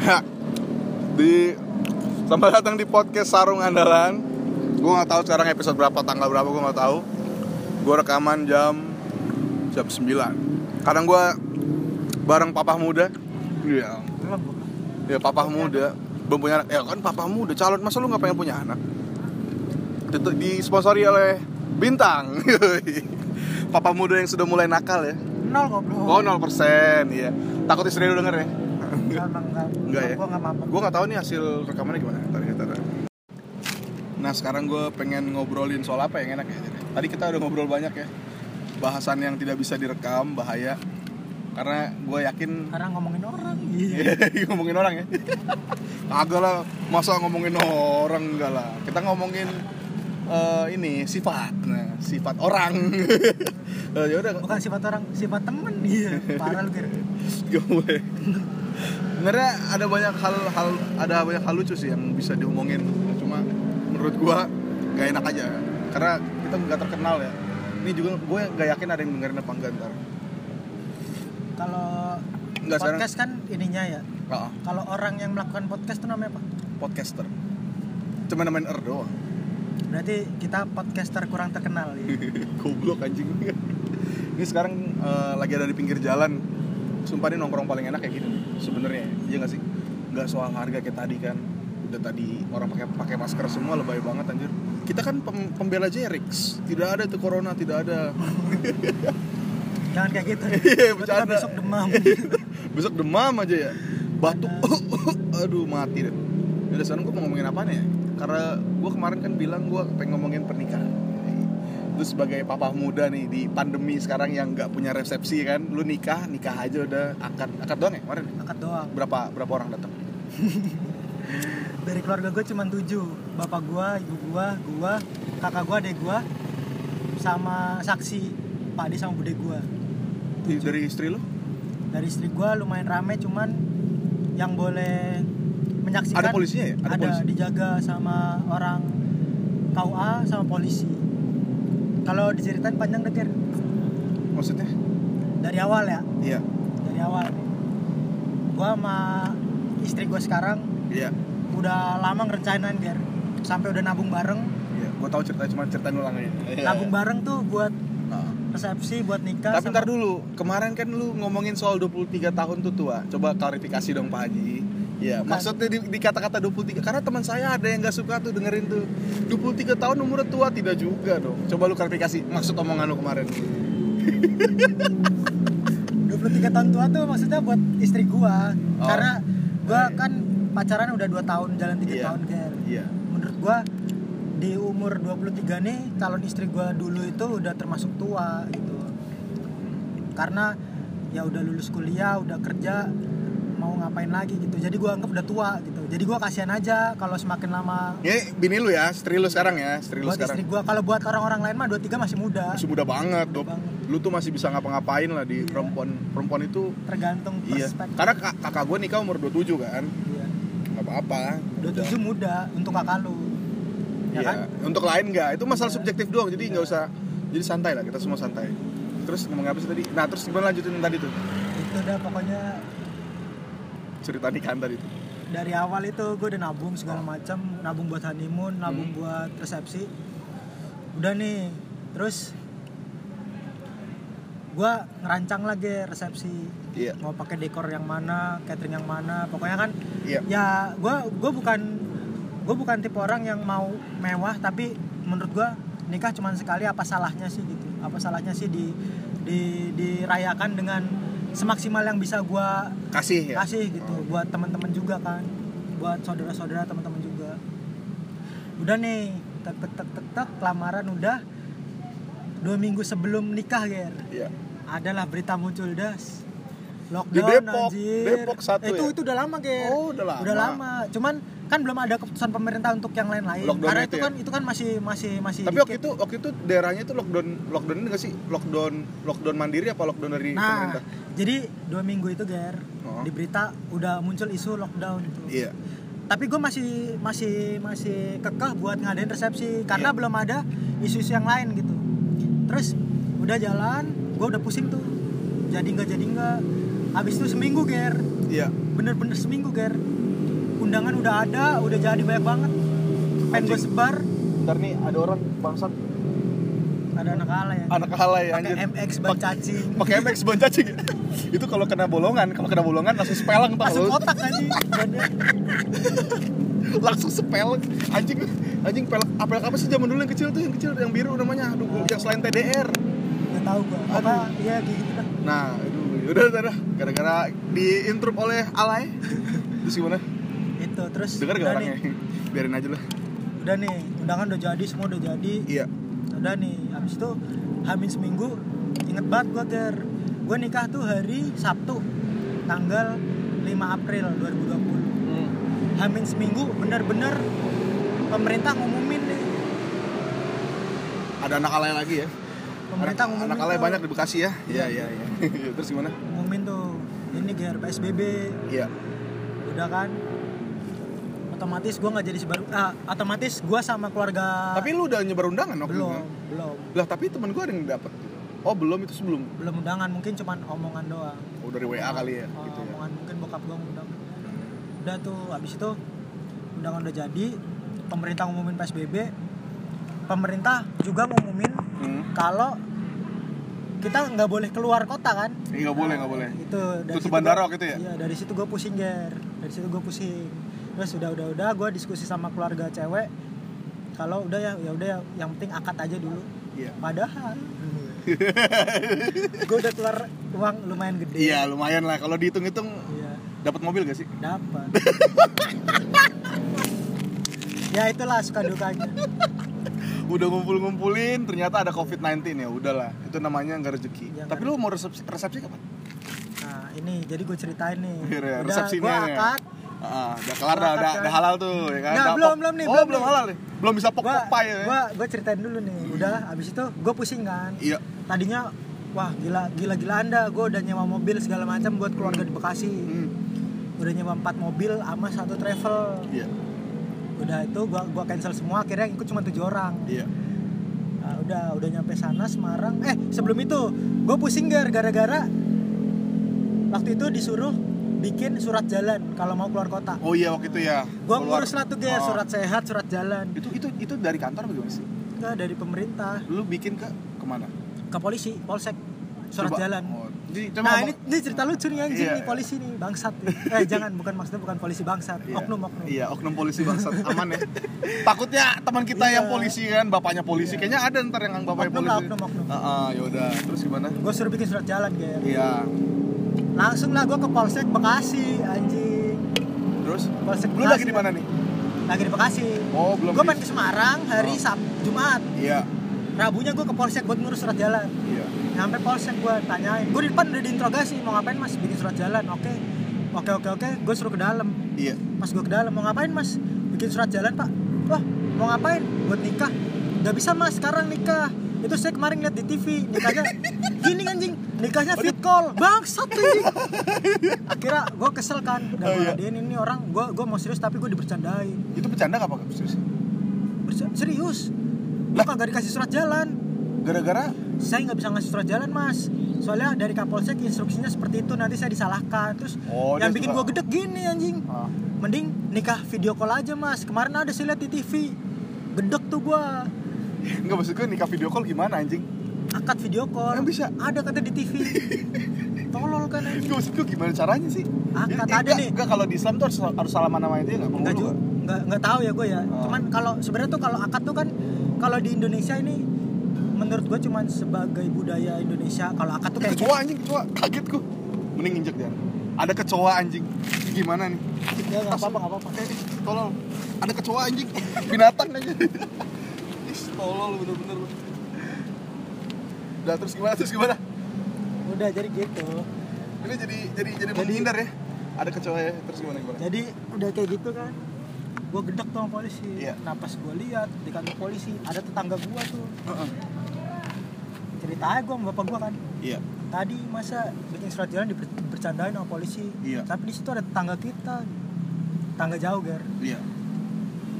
Ya. Di selamat datang di podcast Sarung Andalan. Gua nggak tahu sekarang episode berapa, tanggal berapa gua nggak tahu. Gua rekaman jam jam 9. Kadang gua bareng papah muda. Iya. Ya papah muda, belum punya anak. Ya kan papah muda calon, masa lu nggak pengen punya anak? Itu disponsori oleh Bintang. Papa muda yang sudah mulai nakal ya. nol goblok Oh 0% iya. Takut istri lu denger ya. enggak emang enggak Enggak ya? gua enggak mampu gue nggak tahu nih hasil rekamannya gimana Ntar kita tar. nah sekarang gue pengen ngobrolin soal apa yang enak ya jadi tadi kita udah ngobrol banyak ya bahasan yang tidak bisa direkam bahaya karena gue yakin karena ngomongin orang iya. ngomongin orang ya agak lah masa ngomongin orang enggak lah kita ngomongin eh, ini sifat nah sifat orang Eh, ya udah bukan sifat orang sifat temen iya parah lu Fir. Gak boleh. Sebenarnya ada banyak hal hal ada banyak hal lucu sih yang bisa diomongin. Cuma menurut gua gak enak aja karena kita nggak terkenal ya. Ini juga gue gak yakin ada yang dengerin apa enggak ntar. kalau Enggak, sekarang- podcast kan ininya ya Ah, kalau orang yang melakukan podcast itu namanya apa podcaster. Cuma namain er doang. berarti kita podcaster kurang terkenal ya Goblok anjing. ini sekarang eh, lagi ada di pinggir jalan. Sumpah ini nongkrong paling enak kayak gini nih, sebenarnya. Iya gak sih? Gak soal harga kayak tadi kan. Udah tadi orang pakai pakai masker semua lebay banget anjir. Kita kan pem- pembela Jerix. Tidak ada tuh corona, tidak ada. jangan kayak gitu Iya, Gua bercanda. ntar besok demam Besok demam aja ya. Batuk. Aduh, mati deh. Ya udah sekarang gue mau ngomongin apaan ya? Karena gue kemarin kan bilang gue pengen ngomongin pernikahan. Lu sebagai papa muda nih di pandemi sekarang yang nggak punya resepsi kan, lu nikah, nikah aja udah akad akad doang ya kemarin. akad doang Berapa berapa orang datang? dari keluarga gue cuma tujuh bapak gue ibu gue gue kakak gue adek gue sama saksi pak de sama bude gue Di- Dari istri lu? dari istri gue lumayan rame cuman yang boleh menyaksikan Ada polisinya ya? Ada ada polisi. dijaga sama orang KUA sama polisi kalau diceritain panjang detir Maksudnya? dari awal ya Iya. dari awal gue sama istri gue sekarang Iya. udah lama ngerencanain Ger sampai udah nabung bareng Iya, gua tahu cerita cuma ceritain ulang aja. Iya. nabung bareng tuh buat Ah. resepsi buat nikah Tapi ntar dulu, kemarin kan lu ngomongin soal 23 tahun tuh tua. Coba klarifikasi dong Pak Haji. Iya, Bukan. maksudnya di, di kata-kata 23 karena teman saya ada yang gak suka tuh dengerin tuh. 23 tahun umurnya tua tidak juga dong. Coba lu klarifikasi maksud omongan lu kemarin. 23 tahun tua tuh maksudnya buat istri gua Oh. karena gua Iya. kan pacaran udah 2 tahun jalan 3 Iya. tahun Ger Iya. menurut gua di umur 23 nih calon istri gua dulu itu udah termasuk tua gitu karena ya udah lulus kuliah udah kerja mau ngapain lagi gitu jadi gua anggap udah tua gitu jadi gua kasihan aja kalau semakin lama Ini bini lu ya, istri lu sekarang ya, istri lu buat istri sekarang. gua kalau buat orang-orang lain mah 23 masih muda Masih muda banget, Dok. banget. Lu tuh masih bisa ngapa-ngapain lah di Iya. perempuan. Perempuan itu tergantung iya. perspektif Karena kak- kakak gue nikah umur 27 kan. Iya. Gak apa-apa. 27 muda untuk kakak lu ya Iya. kan Untuk lain nggak, itu masalah Iya. subjektif doang. Jadi nggak usah, jadi santai lah kita semua santai. Terus ngomong apa sih tadi? Nah terus gimana lanjutin yang tadi tuh itu udah pokoknya cerita nikahan tadi tuh. dari awal itu gue udah nabung segala macam nabung buat honeymoon nabung buat resepsi udah nih terus gue ngerancang lagi resepsi Iya. mau pakai dekor yang mana catering yang mana pokoknya kan Iya. ya gue gue bukan gue bukan tipe orang yang mau mewah tapi menurut gue nikah cuman sekali apa salahnya sih gitu apa salahnya sih di di dirayakan dengan semaksimal yang bisa gue Kasih ya. kasih gitu buat teman-teman juga kan buat saudara-saudara teman-teman juga udah nih tek tek tek tek, tek lamaran udah dua minggu sebelum nikah ger Iya. adalah berita muncul das lockdown Di Depok. anjir. Eh, Depok satu itu ya? itu udah lama ger Oh, udah lama. udah lama cuman kan belum ada keputusan pemerintah untuk yang lain-lain Lockdown karena itu itu ya? kan itu kan masih masih masih Tapi waktu dikit. itu waktu itu daerahnya itu lockdown lockdown ini nggak sih lockdown lockdown mandiri apa lockdown dari nah pemerintah? jadi dua minggu itu ger Oh. di berita udah muncul isu lockdown itu Iya. tapi gue masih masih masih kekeh buat ngadain resepsi karena belum ada isu-isu yang lain gitu terus udah jalan gue udah pusing tuh jadi nggak jadi nggak habis itu seminggu ger Iya. bener-bener seminggu ger undangan udah ada udah jadi banyak banget pengen gue sebar Ntar nih ada orang bangsat ada anak ala ya anak halai pakai anjir. MX ban cacing Pakai MX ban cacing. Itu kalau kena bolongan, kalau kena bolongan langsung sepelang tau. masuk kotak anjing bannya langsung sepelek anjing anjing pelek apel apa sih zaman dulu yang kecil tuh yang kecil yang biru namanya aduh gua- yang selain TDR nggak tahu gue apa ya kayak gitu dah nah aduh, udah udah udah. gara-gara diintrup oleh alay terus gimana itu terus dengar gak udah orangnya nih biarin aja lah udah nih undangan udah jadi semua udah jadi iya udah nih Nah, habis itu hamin seminggu inget banget gue ger gue nikah tuh hari Sabtu tanggal 5 April 2020 hamin seminggu bener-bener pemerintah ngumumin nih ada anak alay lagi ya pemerintah anak, ngumumin anak alay tuh. banyak di Bekasi ya iya iya iya terus gimana ngumumin tuh ini ger PSBB iya udah kan otomatis gue nggak jadi sebaru ah, otomatis gue sama keluarga tapi lu udah nyebar undangan waktu itu Ah. belum kan? belum lah tapi temen gua ada yang dapet oh belum itu sebelum belum undangan mungkin cuman omongan doang oh dari WA kali ya Oh, gitu ya omongan mungkin bokap gue ngundang udah tuh abis itu undangan udah jadi pemerintah ngumumin psbb pemerintah juga ngumumin hmm. kalau kita nggak boleh keluar kota kan Ih, Iya, nggak boleh nggak boleh itu dari Tutup situ bandara gua- waktu itu ya? iya dari situ gue pusing ger dari situ gue pusing terus udah udah udah gue diskusi sama keluarga cewek kalau udah ya ya udah ya yang penting akad aja dulu iya padahal gue udah keluar uang lumayan gede Iya lumayan lah kalau dihitung-hitung Iya, dapat mobil gak sih? dapat ya itulah suka dukanya Udah ngumpul-ngumpulin ternyata ada COVID-19 ya udahlah itu namanya nggak rezeki. Iya, Tapi lu mau resepsi, resepsi kapan? nah ini jadi gue ceritain nih Iya, udah gue resepsinya ya. akad Ah, udah kelar dah, Akad udah, kan? udah halal tuh ya kan? Nggak, Udah belum, pok- belum nih, Oh belum belum nih. halal nih, belum bisa pok gue pokpai ya. gue gue ceritain dulu nih udah abis itu gue pusing kan Iya. tadinya wah gila gila gila anda gue udah nyewa mobil segala macam buat keluarga di Bekasi Hmm, udah nyewa empat mobil sama satu travel Iya, udah itu gua gua cancel semua akhirnya yang ikut cuma tujuh orang iya. Nah, udah udah nyampe sana Semarang eh sebelum itu gue pusing gar gara-gara waktu itu disuruh bikin surat jalan kalau mau keluar kota Oh iya waktu itu ya. gue keluar. ngurus lah tuh Ger, Oh. surat sehat surat jalan Itu itu itu dari kantor bagaimana sih? enggak dari pemerintah Lu bikin ke kemana? ke polisi polsek surat Coba. jalan Oh, di- coba nah ngomong- ini, ini cerita lucu nih anjing Iya. nih polisi nih bangsat nih. eh jangan bukan maksudnya bukan polisi bangsat Iya. oknum oknum Iya, oknum polisi bangsat aman ya. Takutnya teman kita Iya. yang polisi kan, bapaknya polisi. Kayaknya ada ntar yang bapaknya Oknum polisi. lah, oknum, oknum. Heeh, yaudah. Terus gimana? gue suruh bikin surat jalan Ger Iya. langsung lah gue ke polsek Bekasi anjing Terus polsek lu Bekasi. lagi di mana nih? lagi di Bekasi Oh, belum. gue di- pengen ke Semarang hari Oh. Sab Jumat Iya, Rabunya gue ke polsek buat ngurus surat jalan iya. Sampai polsek gue tanyain Gue di depan udah diinterogasi Mau ngapain mas? Bikin surat jalan Oke Oke oke oke Gue suruh ke dalam Iya. Pas gue ke dalam Mau ngapain mas? Bikin surat jalan pak Wah mau ngapain? Buat nikah Gak bisa mas sekarang nikah Itu saya kemarin lihat di TV Nikahnya Gini anjing Nikahnya fit call Bangsat anjing Akhirnya gue kesel kan Dan Oh, gue iya. ngadain ini orang Gue gua mau serius tapi gue dibercandain Itu bercanda gak apa serius? Bersa- Serius Gue Lah. kagak dikasih surat jalan Gara-gara saya nggak bisa ngasih surat jalan mas soalnya dari kapolsek instruksinya seperti itu nanti saya disalahkan terus Oh, yang dia bikin suka- gua gedek gini anjing Ah, mending nikah video call aja mas kemarin ada saya lihat di TV gedek tuh gua enggak maksud gue nikah video call gimana anjing? akad video call Emang bisa? ada kata di TV tolol kan anjing Enggak maksud gue gimana caranya sih? Akad Eh, ada enggak, Ah, nih. Enggak kalau di Islam tuh harus, harus salaman sama itu ya enggak? nggak juga nggak nggak tahu ya gue ya Oh. cuman kalau sebenarnya tuh kalau akad tuh kan kalau di Indonesia ini menurut gue cuman sebagai budaya Indonesia kalau akad tuh kayak gitu, Kecoa anjing, kecoa. Kaget gue. Mending injek dia. Ada kecoa anjing. Gimana nih? ya nggak apa-apa nggak apa-apa Eh, tolol. Ada kecoa anjing. Binatang aja. Ih, tolol bener-bener. lu. Udah terus gimana? Terus gimana? udah jadi gitu Ini jadi jadi jadi menghindar ya. Ada kecoa ya. Terus gimana gimana? jadi udah kayak gitu kan gue gedek tuh sama polisi Iya. nah pas gue lihat di kantor polisi ada tetangga gue tuh Heeh. ceritanya gue sama bapak gue kan Iya. tadi masa bikin surat jalan dibercandain sama polisi Iya. tapi di situ ada tetangga kita tetangga jauh ger Iya.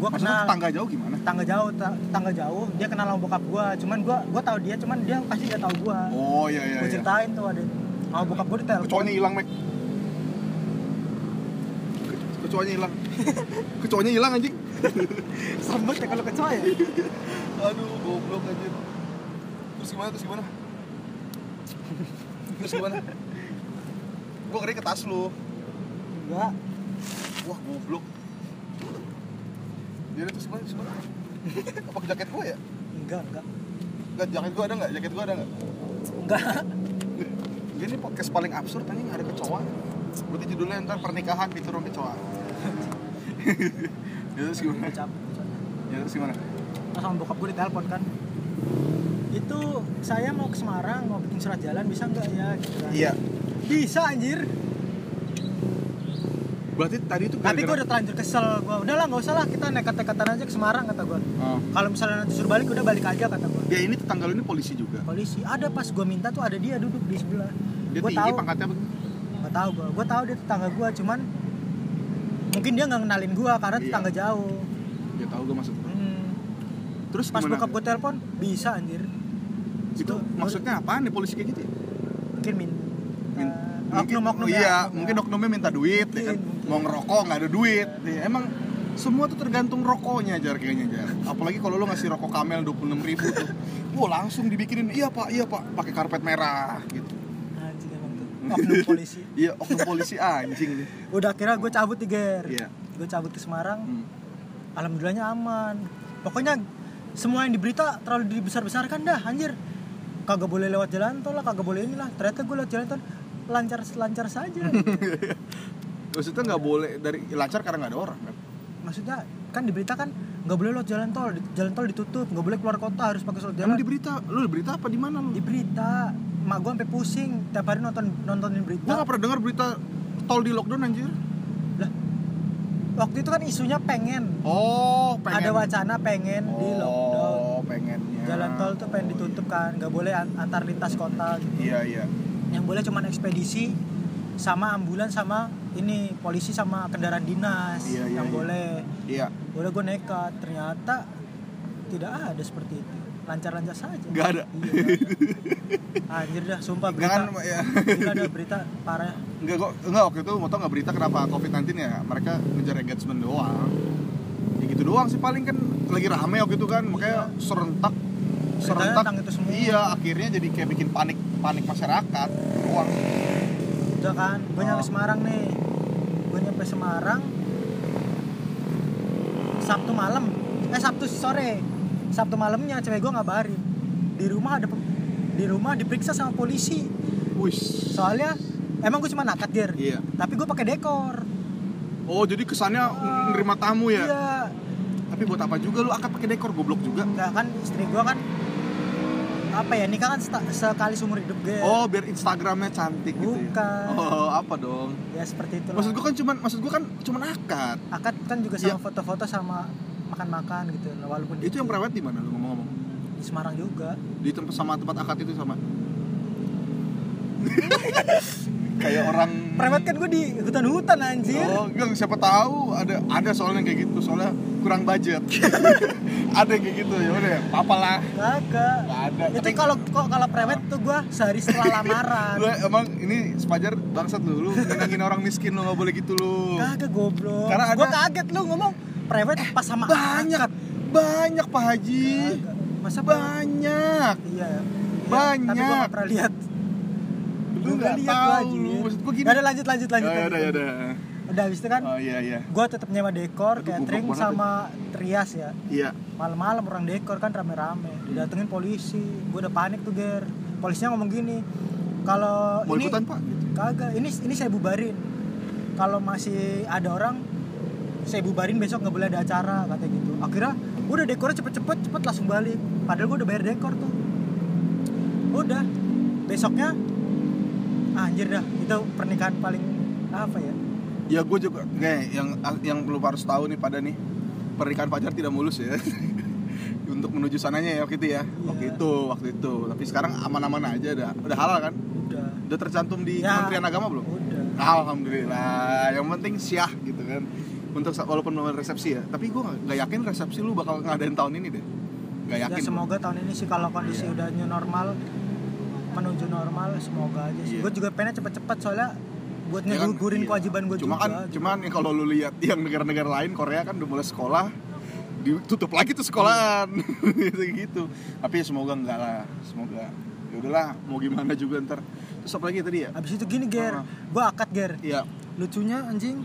gue Maksudnya kenal tetangga jauh gimana? tetangga jauh ta- tetangga jauh dia kenal sama bokap gue cuman gue gue tahu dia cuman dia pasti gak tahu gue Oh iya iya. gue iya. ceritain tuh ada sama bokap gue di telepon Kecoanya hilang, Mek. kecoanya hilang kecoanya hilang anjing Sambet ya kalau kecoa ya. aduh goblok anjir terus gimana terus gimana terus gimana gue kira ke tas lu Enggak. wah goblok jadi terus gimana terus gimana apa ke jaket gue ya Enggak, enggak. Enggak, jaket gue ada nggak jaket gue ada nggak Enggak. Gini ini podcast paling absurd anjing ada kecoa. Berarti judulnya ntar pernikahan di turun kecoa. ya terus gimana? Kecap. kecoanya. Ya terus gimana? Terus sama bokap gue ditelepon kan. Itu saya mau ke Semarang, mau bikin surat jalan bisa enggak ya gitu kan. Iya. Bisa anjir. Berarti tadi itu Tapi gue udah terlanjur kesel. Gue udahlah nggak usah lah kita nekat-nekatan aja ke Semarang kata gue. Oh. Kalau misalnya nanti suruh balik udah balik aja kata gue. Dia ini tetangga lu ini polisi juga. Polisi ada pas gue minta tuh ada dia duduk di sebelah. Dia Gue tinggi tahu pangkatnya apa? nggak tahu gue gue tahu dia tetangga gue cuman mungkin dia nggak kenalin gue karena Iya. tetangga jauh Ya tahu gue maksud. Hmm. Terus pas gimana? bokap gue telepon bisa anjir itu Gua- maksudnya apaan nih polisi kayak gitu? ya? mungkin min Min- eh, oknum oknum ya, iya, oknum mungkin ya. oknumnya minta duit, ya kan? Mungkin, mau ngerokok nggak ada duit. Ya, emang semua tuh tergantung rokoknya jar kayaknya jar. Apalagi kalau lu ngasih rokok Kamel 26.000 ribu tuh, wah langsung dibikinin, iya pak, iya pak, pakai karpet merah gitu. anjing emang tuh oknum polisi Iya, oknum polisi anjing nih. udah kira gue cabut di ger Iya. gue cabut ke Semarang Hmm. alhamdulillahnya aman pokoknya semua yang di berita terlalu dibesar-besarkan dah anjir kagak boleh lewat jalan tol lah kagak boleh inilah ternyata gue lewat jalan tol lancar lancar saja Maksudnya nggak boleh dari lancar karena nggak ada orang kan? maksudnya kan di berita kan nggak boleh lewat jalan tol di- jalan tol ditutup nggak boleh keluar kota harus pakai surat Emang jalan di berita, lu di berita apa di mana lu? di berita mak gua sampai pusing tiap hari nonton nontonin berita Gua nggak pernah dengar berita tol di lockdown anjir. lah waktu itu kan isunya pengen, Oh, pengen. ada wacana pengen di lockdown Oh, pengennya. jalan tol tuh pengen ditutup kan nggak boleh an- antar lintas kota gitu Iya, iya. yang boleh cuman ekspedisi sama ambulan sama ini polisi sama kendaraan dinas Iya, iya, yang iya. boleh Iya. boleh gue nekat ternyata tidak ada seperti itu lancar-lancar saja Nggak ada. Iya, nggak ada. anjir dah sumpah Enggak kan berita ya. gila ada berita parah Enggak kok, enggak waktu itu mau tau nggak berita kenapa COVID-19 ya? Mereka ngejar engagement doang. Ya gitu doang sih paling kan lagi rame waktu itu kan, makanya serentak serentak Iya. tentang itu semua. Iya, akhirnya jadi kayak bikin panik panik masyarakat doang. udah kan gue nyampe Oh. Semarang nih gue nyampe Semarang Sabtu malam eh Sabtu sore Sabtu malamnya cewek gue ngabarin di rumah ada pe- di rumah diperiksa sama polisi Wis. soalnya emang gue cuma nakat gear Iya. tapi gue pakai dekor Oh, jadi kesannya Ah, nerima tamu ya. iya Tapi buat apa juga lu akad pakai dekor goblok juga? Enggak kan istri gua kan apa ya nikah kan seta- sekali seumur hidup gue Oh, biar Instagramnya cantik gitu ya. Iya. Bukan. Oh, apa dong? ya seperti itu Maksud gua kan cuman maksud gua kan cuman akad. akad kan juga sama Iya. foto-foto sama makan-makan gitu lah, walaupun di, Itu yang prewed di mana lu ngomong-ngomong? di Semarang juga di tempat sama tempat akad itu sama kayak orang prewed kan gue di hutan-hutan anjir oh enggak siapa tahu ada ada soalnya kayak gitu soalnya kurang budget ada yang kayak gitu ya udah apalah kagak Nggak ada, itu tapi- kalau kok kalau prewed tuh gua sehari setelah lamaran lu emang ini sepajar bangsat lu lu nyenengin orang miskin lu nggak boleh gitu lu kagak goblok Karena ada- gua kaget lu ngomong prewed pas sama banyak akad. banyak pak haji Kagak. masa prewed? banyak iya ya. Banyak. tapi gua nggak pernah lihat lu Gua nggak lihat gua, tahu anjir. lu maksud gua gini Nggak ada lanjut lanjut lanjut. ya udah ya udah Udah habis itu kan oh iya iya gua tetap nyewa dekor, Aduh, catering goblok banget sama trias ya. iya Malam-malam orang dekor kan rame-rame. Didatengin polisi. Gua udah panik tuh, Ger. Polisinya ngomong gini, kalau mau ini ikutan pak gitu. kagak, ini ini saya bubarin. Kalau masih ada orang saya bubarin besok nggak boleh ada acara kata gitu. Akhirnya gua udah dekornya cepet-cepet cepet langsung balik. Padahal gua udah bayar dekor tuh. Udah. Besoknya anjir dah itu pernikahan paling apa ya? Ya gue juga, nih yang ah, yang perlu harus tahu nih pada nih pernikahan pacar tidak mulus ya. Untuk menuju sananya ya waktu itu ya. Waktu Iya. itu, waktu itu. Tapi sekarang aman-aman aja dah. Udah halal kan? Udah. Udah tercantum di Ya. Kementerian Agama belum? Udah. Alhamdulillah. Yang penting syah gitu kan. Untuk sa- walaupun belum ada resepsi ya. Tapi gue nggak yakin resepsi lu bakal ngadain tahun ini deh. Gak Ya yakin. semoga tahun ini sih kalau kondisi Iya. udah new normal menuju normal semoga aja Iya. sih. Gue juga pengen cepet-cepet soalnya buat Ya kan? ngegugurin Iya. kewajiban gue cuma juga kan gitu. cuman ya kalau lu lihat yang negara-negara lain Korea kan udah mulai sekolah ditutup lagi tuh sekolahan gitu gitu tapi ya semoga enggak lah semoga ya udahlah mau gimana juga ntar terus apa lagi tadi ya abis itu gini Ah. ger gue akad ger iya lucunya anjing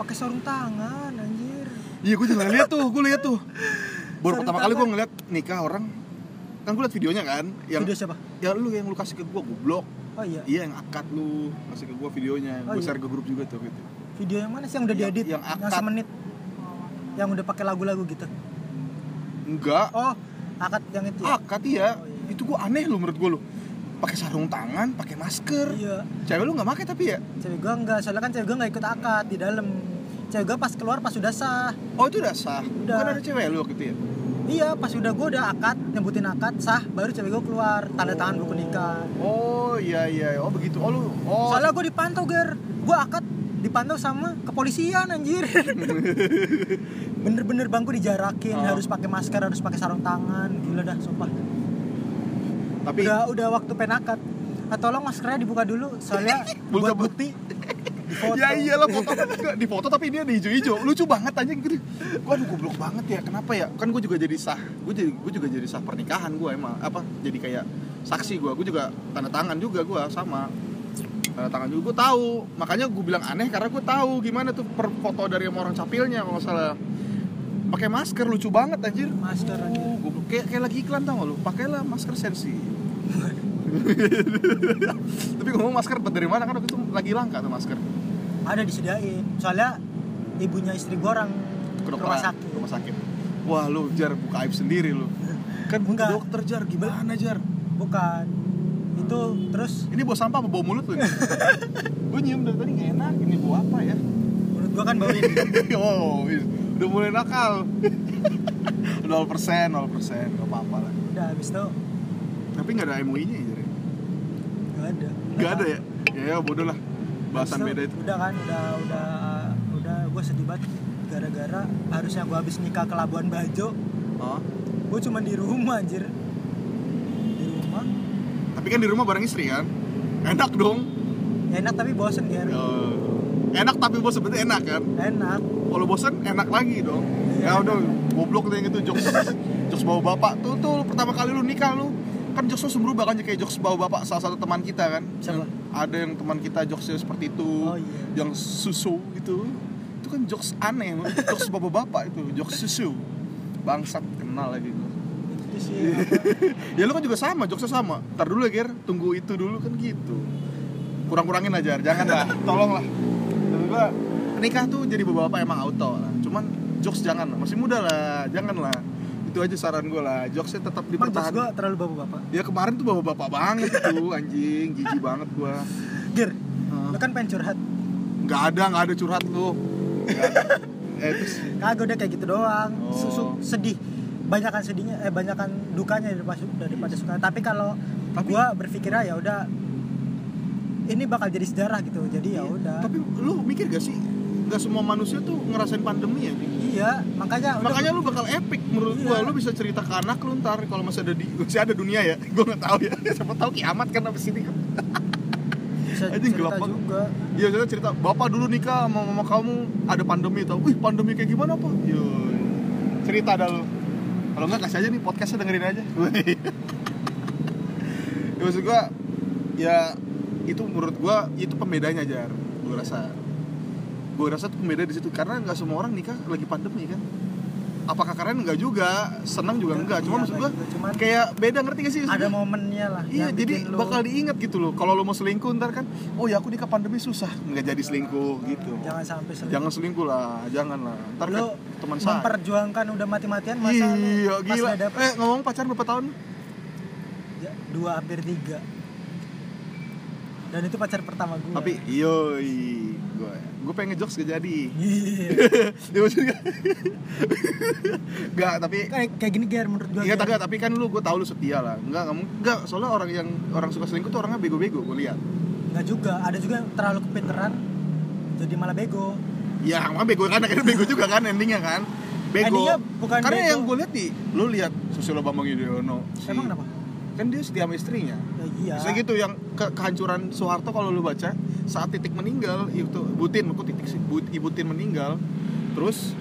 pakai sarung tangan anjir iya gue juga lihat tuh gue lihat tuh baru Sarung pertama kali gue tangan. ngeliat nikah orang kan gue liat videonya kan yang video siapa yang lu yang lu kasih ke gue goblok oh iya iya yang akad lu kasih ke gue videonya Oh, gue iya. share ke grup juga tuh gitu video yang mana sih yang udah Yang- diedit yang akad. semenit yang udah pakai lagu-lagu gitu enggak oh akad yang itu ya? akad iya Oh, iya. itu gue aneh lu menurut gue lu pakai sarung tangan pakai masker iya cewek lu nggak pakai tapi ya cewek gue enggak soalnya kan cewek gue nggak ikut akad di dalam cewek gue pas keluar pas udah sah oh itu udah sah Udah. bukan ada cewek lu waktu itu ya iya pas udah gue udah akad nyebutin akad sah baru cewek gue keluar tanda tangan buku nikah oh iya iya oh begitu oh lu oh soalnya gue dipantau ger gue akad dipantau sama kepolisian anjir bener-bener bangku Oh. dijarakin harus pakai masker harus pakai sarung tangan gila dah sumpah tapi udah udah waktu penakat ah, tolong maskernya dibuka dulu soalnya buat Buka-buka. bukti di foto. ya iyalah foto di foto tapi dia di hijau-hijau lucu banget aja gitu gua aduh goblok banget ya kenapa ya kan gue juga jadi sah gue jadi gue juga jadi sah pernikahan gue emang apa jadi kayak saksi gue gue juga tanda tangan juga gue sama tanda tangan juga gue tahu makanya gue bilang aneh karena gue tahu gimana tuh per foto dari sama orang capilnya kalau nggak salah pakai masker lucu banget anjir Masker, anjir. anjir goblok kayak kayak lagi iklan tau gak lu pakailah masker sensi tapi ngomong masker dari mana kan waktu itu lagi langka tuh masker ada disediain soalnya ibunya istri gue orang kedokteran rumah sakit rumah sakit wah lu jar buka aib sendiri lu kan bukan Enggak. dokter jar gimana jar bukan itu terus ini bau sampah apa bau mulut lu gue nyium dari tadi gak enak ini bau apa ya menurut gue kan baru ini oh is- udah mulai nakal 0% 0% gak apa-apa lah udah habis itu tapi gak ada MUI nya ya jar gak ada gak ada ya ya ya bodoh lah bahasan Habis beda itu udah kan udah udah udah gue sedih banget gara-gara harusnya gue habis nikah ke Labuan Bajo oh. gue cuma di rumah anjir di rumah tapi kan di rumah bareng istri kan enak dong enak tapi bosen ya Eh, enak tapi bos sebenarnya enak kan enak kalau bosen enak lagi dong ya Iya. udah goblok deh gitu jokes jokes bawa bapak tuh tuh pertama kali lu nikah lu kan jokes lu berubah kan kayak jokes bawa bapak salah satu teman kita kan Siapa? Yang ada yang teman kita jokesnya seperti itu Oh, iya. yang susu gitu itu kan jokes aneh menurut gua jokes bawa bapak itu jokes susu bangsat kenal lagi gua. itu sih apa, ya lu kan juga sama jokesnya sama ntar dulu ya Ger tunggu itu dulu kan gitu kurang-kurangin aja jangan lah tolong lah tapi gua nikah tuh jadi bapak-bapak emang auto lah cuman jokes jangan lah masih muda lah jangan lah itu aja saran gue lah jokesnya tetap emang jokes gue dipertahankan terlalu bapak-bapak ya kemarin tuh bapak-bapak banget tuh anjing jijik banget gua Gir, Hah? lu kan pengen curhat nggak ada nggak ada curhat lu Nggak ada. eh terus kagak udah kayak gitu doang Oh. Susu- sedih banyakan sedihnya eh banyakan dukanya daripada daripada suka tapi kalau Iya. Tapi- gua berpikirnya ya udah ini bakal jadi sejarah gitu jadi ya Iya. udah tapi lu mikir gak sih nggak semua manusia tuh ngerasain pandemi ya Dik? iya makanya udah- makanya lu bakal epic menurut Iya. gua lu bisa cerita ke anak lu ntar kalau masih ada di masih ada dunia ya gua nggak tahu ya siapa tahu kiamat kan abis ini kan bisa anjing cerita gelap banget. juga iya cerita cerita bapak dulu nikah sama mama kamu ada pandemi tau wih pandemi kayak gimana pak yo cerita ada lu kalau nggak kasih aja nih podcastnya dengerin aja ya, maksud gua ya itu menurut gua itu pembedanya jar gua rasa gua rasa tuh pembeda di situ karena nggak semua orang nikah lagi pandemi kan apakah keren nggak juga senang juga enggak cuma Iya, maksud gua enggak juga. Cuman kayak beda ngerti gak sih ada maksudnya? momennya lah iya yang jadi bikin lu- bakal diingat gitu loh kalau lo mau selingkuh ntar kan oh ya aku nikah pandemi susah nggak jadi selingkuh gitu jangan sampai selingkuh jangan selingkuh lah jangan lah ntar kan lu teman saya memperjuangkan udah mati-matian masa lu iya pas gila nggak dapet Iya. eh ngomong pacar berapa tahun ya, dua hampir tiga dan itu pacar pertama gue tapi yoi gue gue pengen ngejokes gak jadi Iya. ya maksudnya nggak tapi kayak kayak gini ger menurut gue Iya tapi tapi kan lu gue tau lu setia lah nggak nggak mung- nggak soalnya orang yang orang suka selingkuh tuh orangnya bego-bego gue lihat nggak juga ada juga yang terlalu kepeteran jadi malah bego Ya, emang bego kan akhirnya bego juga kan endingnya kan. Bego. Endingnya bukan Karena bego. yang gue lihat nih, lu lihat Susilo Bambang Yudhoyono. si- emang kenapa kan dia setia sama istrinya ya iya bisa gitu yang ke- kehancuran Soeharto kalau lu baca saat titik meninggal itu Butin kok titik sih But- Ibu Tin meninggal terus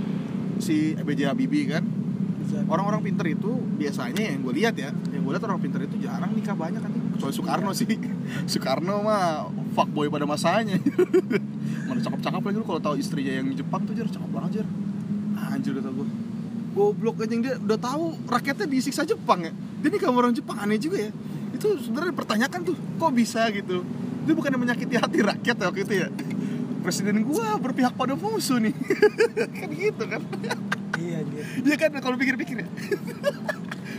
si BJ Habibie kan Bisa. orang-orang pinter itu biasanya yang gue lihat ya yang gue lihat orang pinter itu jarang nikah banyak kan kecuali Soekarno sih Soekarno mah fuckboy pada masanya mana cakep-cakep lagi lu kalau tahu istrinya yang Jepang tuh jar cakep banget jar anjir udah tau gue goblok anjing dia udah tahu rakyatnya disiksa Jepang ya dia nikah sama orang Jepang aneh juga ya itu sebenarnya dipertanyakan tuh kok bisa gitu itu bukan yang menyakiti hati rakyat ya waktu itu ya presiden gua berpihak pada musuh nih kan gitu kan iya anjir. Iya kan kalau pikir-pikir ya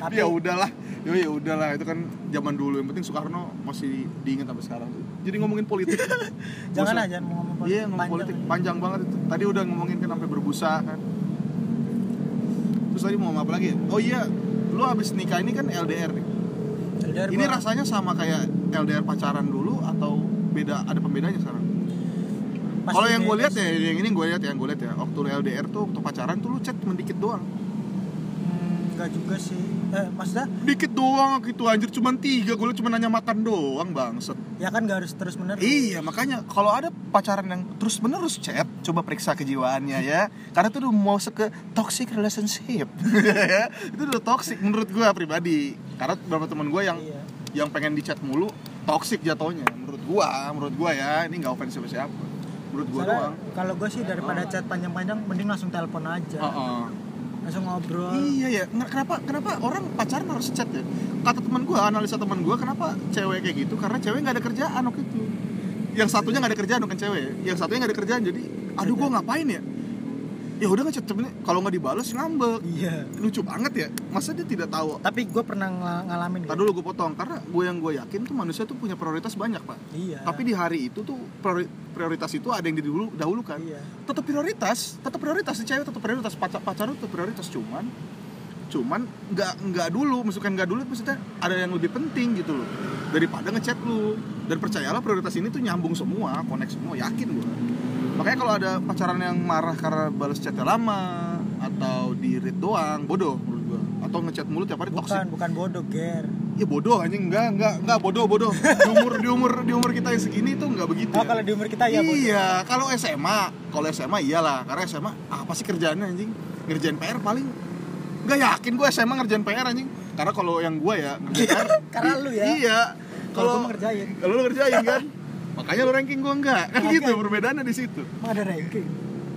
tapi ya udahlah ya ya udahlah itu kan zaman dulu yang penting Soekarno masih diingat sampai sekarang jadi ngomongin politik jangan lah Bosan. jangan ngomong politik iya ngomongin politik ya. panjang banget itu tadi udah ngomongin kan sampai berbusa kan terus tadi mau ngomong apa lagi ya? oh iya lu habis nikah ini kan LDR nih LDR ini Ya gua- rasanya sama kayak LDR pacaran dulu atau beda ada pembedanya sekarang pasti kalau yang gue beda lihat sih. ya yang ini gue lihat ya yang gue lihat ya waktu lu LDR tuh waktu pacaran tuh lu chat cuma dikit doang Hmm, nggak juga sih eh maksudnya dikit doang gitu anjir cuman tiga gue cuma nanya makan doang bangset ya kan nggak harus terus menerus Iya makanya kalau ada pacaran yang terus menerus chat Coba periksa kejiwaannya ya Karena itu udah mau ke toxic relationship Ya, Itu udah toxic menurut gue pribadi Karena beberapa teman gue yang Iya. yang pengen di chat mulu Toxic jatuhnya Menurut gue, menurut gue ya Ini gak offense siapa-siapa Menurut gue Soalnya doang kalau gue sih daripada Oh. chat panjang-panjang mending langsung telepon aja Heeh. langsung Ah. ngobrol Iya ya, Nge- kenapa kenapa orang pacaran harus chat ya? Kata teman gue, analisa teman gue, kenapa cewek kayak gitu? Karena cewek nggak ada kerjaan waktu itu. Yang satunya nggak ada kerjaan bukan cewek, yang satunya nggak ada kerjaan jadi, aduh gue ngapain ya? Ya udah nggak chat temennya. kalau nggak dibalas ngambek. iya Lucu banget ya, masa dia tidak tahu? tapi gue pernah ngala- ngalamin Tadi gitu. dulu gue potong karena gue yang gue yakin tuh manusia tuh punya prioritas banyak pak. iya Tapi di hari itu tuh priori- prioritas itu ada yang didahulu- dahulukan iya tetap prioritas tetap prioritas si cewek tetap prioritas pacar pacar lu tetap prioritas cuman cuman nggak nggak dulu maksudnya nggak dulu maksudnya ada yang lebih penting gitu loh daripada ngechat lu dan percayalah prioritas ini tuh nyambung semua connect semua yakin gua makanya kalau ada pacaran yang marah karena balas chatnya lama atau di read doang bodoh menurut gua atau ngechat mulu tiap hari toxic bukan bukan bodoh ger ya bodoh anjing enggak enggak enggak bodoh bodoh di umur di umur di umur kita yang segini tuh nggak begitu ya oh kalau di umur kita ya bodoh iya, kalau SMA, kalau SMA iyalah, karena SMA apa sih kerjaannya anjing? Ngerjain PR paling. Gak yakin gue SMA ngerjain PR anjing. Karena kalau yang gue ya ngerjain PR. Karena lu ya. Iya. kalau gue Kalau mau ngerjain kalau lu ngerjain kan. Makanya lu ranking gue enggak. Kan Makanya. gitu perbedaannya di situ. emang ada ranking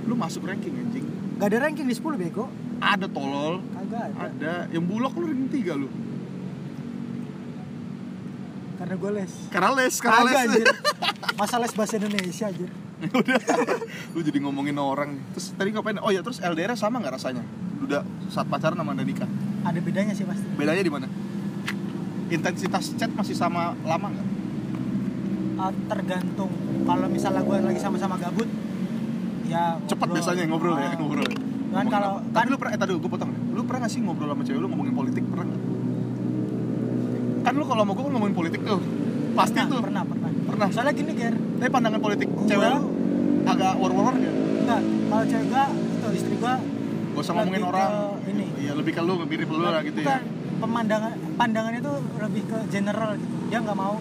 Lu masuk ranking anjing. Gak ada ranking di 10 bego Ada tolol, Kagak ada ada yang bulok lu ranking 3 lu. Karena gue les Karena les, karena Kagak les. anjir Masa les bahasa Indonesia anjir udah lu jadi ngomongin orang nih. terus tadi ngapain oh ya terus LDR sama nggak rasanya udah saat pacaran sama udah nikah Ada bedanya sih pasti bedanya di mana intensitas chat masih sama lama nggak Ah, Tergantung Kalau misalnya gue lagi sama-sama gabut Ya cepet ngobrol. biasanya ngobrol ya Ah. ngobrol Cuman Ngomongin kalau- kan apa? tapi lu pernah eh tadi gue potong deh. lu pernah nggak sih ngobrol sama cewek lu ngomongin politik pernah nggak kan lu kalau mau gue ngomongin politik tuh pasti Pernah, tuh Nah, pernah, pernah Pernah. Soalnya gini ger tapi pandangan politik Gua- cewek lu agak war war ya Enggak, kalau cewek gua itu istri gua gak usah ngomongin lebih orang ke ini. iya lebih ke lu mirip lu lah gitu eh, bukan ya pemandangan pandangannya itu lebih ke general gitu. Dia nggak mau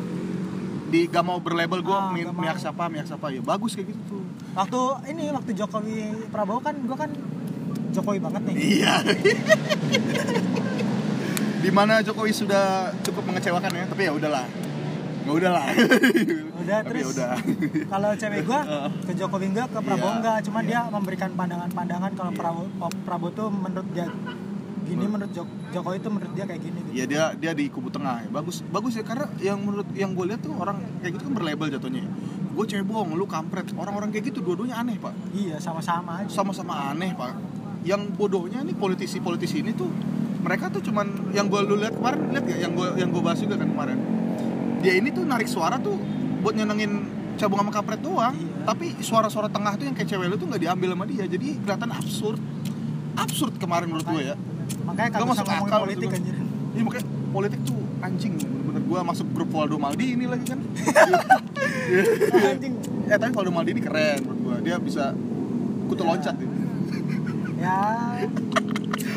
di gak mau berlabel gue Ah, mi- nggak mau. miak siapa miak siapa ya bagus kayak gitu tuh waktu ini waktu Jokowi Prabowo kan gua kan Jokowi banget nih. iya dimana Jokowi sudah cukup mengecewakan ya tapi ya udahlah nggak udahlah Udah Tapi terus udah. kalau cewek gua ke Jokowi enggak ke Prabowo Iya, enggak, cuma iya. dia memberikan pandangan-pandangan kalau Prabowo oh, Prabowo tuh menurut dia gini menurut Jok- Jokowi itu menurut dia kayak gini gitu. ya dia dia di kubu tengah ya. bagus bagus ya karena yang menurut yang gue lihat tuh orang kayak gitu kan berlabel jatuhnya gue cebong lu kampret orang-orang kayak gitu dua-duanya aneh pak Iya, sama-sama aja. sama-sama aneh pak yang bodohnya nih politisi-politisi ini tuh mereka tuh cuman yang gue lu lihat kemarin lihat gak yang gue yang gue bahas juga kan kemarin dia ini tuh narik suara tuh buat nyenengin cabung sama kampret doang Iya. tapi suara-suara tengah tuh yang kayak cewek lu tuh nggak diambil sama dia jadi kelihatan absurd absurd kemarin menurut gue ya Makanya Nggak kalau masuk ngomongin akal politik gitu. anjir. ini makanya politik tuh anjing bener-bener gue masuk grup Waldo Maldi ini lagi kan Anjing. eh tapi Waldo Maldi ini keren menurut gue dia bisa kutu loncat gitu. dia. Ya, Iya,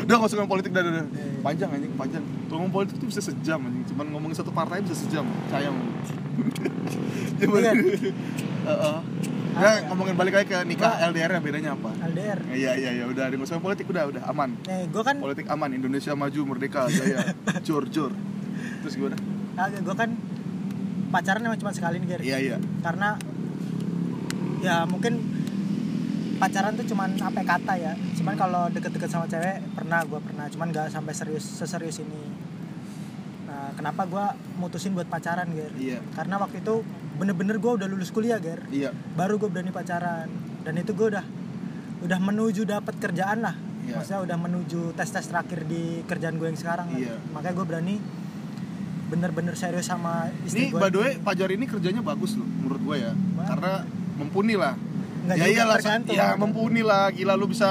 udah nggak usah ngomongin politik dah, dah, dah. panjang anjing panjang kalau ngomong politik tuh bisa sejam anjing cuman ngomongin satu partai bisa sejam sayang cuman Iya. Heeh. Ah, Nah, iya. ngomongin balik lagi ke nikah Wah. LDR nya bedanya apa LDR iya iya iya udah ada masalah politik udah udah aman Nah, gue kan politik aman Indonesia maju merdeka jaya jor jor terus gimana gue kan pacaran emang cuma sekali nih Ger. iya iya karena ya mungkin pacaran tuh cuman apa ya, kata ya cuman kalau deket-deket sama cewek pernah gue pernah cuman gak sampai serius seserius ini nah, kenapa gue mutusin buat pacaran ger Iya. karena waktu itu bener-bener gue udah lulus kuliah ger iya baru gue berani pacaran dan itu gue udah udah menuju dapat kerjaan lah Iya. maksudnya udah menuju tes tes terakhir di kerjaan gue yang sekarang kan. Iya. makanya gue berani bener-bener serius sama istri ini gue by the way Fajar ini kerjanya bagus loh menurut gue ya Wah. karena mumpuni lah Nggak ya juga, iyalah tergantung. ya mumpuni lah gila lu bisa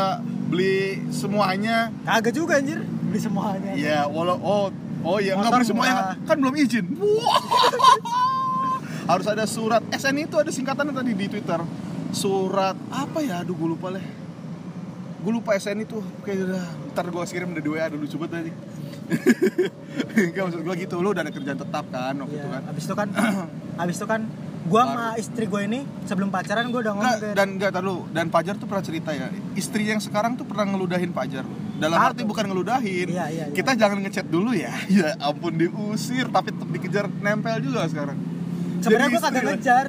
beli semuanya Kagak juga anjir beli semuanya. ya walau oh oh ya nggak Motor beli semuanya murah. kan belum izin Wah. harus ada surat SN itu ada singkatannya tadi di Twitter surat apa ya aduh gue lupa deh gue lupa SN itu kayak udah ntar gue kirim dari WA dulu coba tadi Gak maksud gue gitu, lu udah ada kerjaan tetap kan waktu Iya, itu kan Abis itu kan abis itu kan gua sama istri gue ini sebelum pacaran gue udah ngomong Enggak, ke dan enggak tahu dan Pajar tuh pernah cerita ya istri yang sekarang tuh pernah ngeludahin Pajar dalam Ah, arti tuh. bukan ngeludahin Iya, iya, iya. kita jangan ngechat dulu ya ya ampun diusir tapi tetap dikejar nempel juga sekarang sebenarnya Jadi gue kagak istri- ngejar.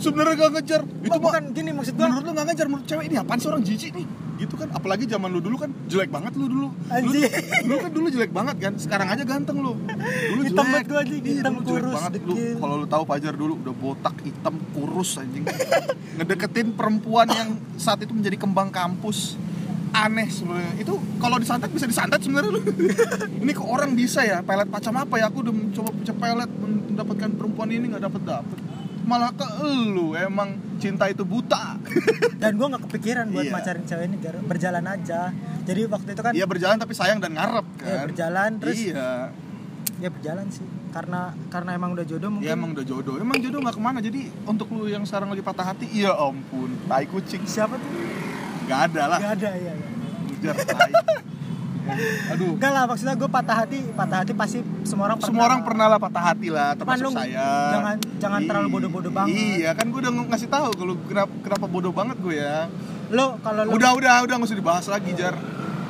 sebenarnya gak ngejar itu mah bukan gini maksud gue. menurut lu gak ngejar menurut cewek ini apaan sih orang jijik nih gitu kan apalagi zaman lu dulu kan jelek banget lu dulu lu, Anjing. lu kan dulu jelek banget kan sekarang aja ganteng lu dulu Hitam banget jelek gua, anjing. Iya, Hitam, dulu jelek kurus, banget lu dekil. kalau lu tahu Fajar dulu udah botak hitam kurus anjing ngedeketin perempuan yang saat itu menjadi kembang kampus aneh sebenarnya itu kalau disantet bisa disantet sebenarnya lu ini kok orang bisa ya pelet macam apa ya aku udah mencoba pecah pelet mendapatkan perempuan ini nggak dapet dapet malah ke lu emang cinta itu buta Kan. Dan gue nggak kepikiran buat Iya. pacarin cewek ini Gar. berjalan aja. Jadi waktu itu kan Iya berjalan tapi sayang dan ngarep kan. Iya, berjalan, terus- Iya. ya berjalan sih karena karena emang udah Ya jodoh mungkin. emang udah jodoh. Emang jodoh nggak kemana. Jadi untuk lu yang sekarang lagi patah hati, iya ampun, tai kucing. Siapa tuh? Gak ada lah. Gak ada ya. ya. Ujar tai. Ya, Aduh. Enggak lah maksudnya gue patah hati patah hati pasti semua orang Semua orang pernah lah patah hati lah, termasuk Cuman lu saya. jangan- jangan terlalu Ih, bodoh-bodoh banget. Iya, kan gue udah ngasih tahu kalau kenapa, kenapa bodoh banget gue ya. lo kalau lo Udah, udah, udah nggak usah dibahas lagi, Jar.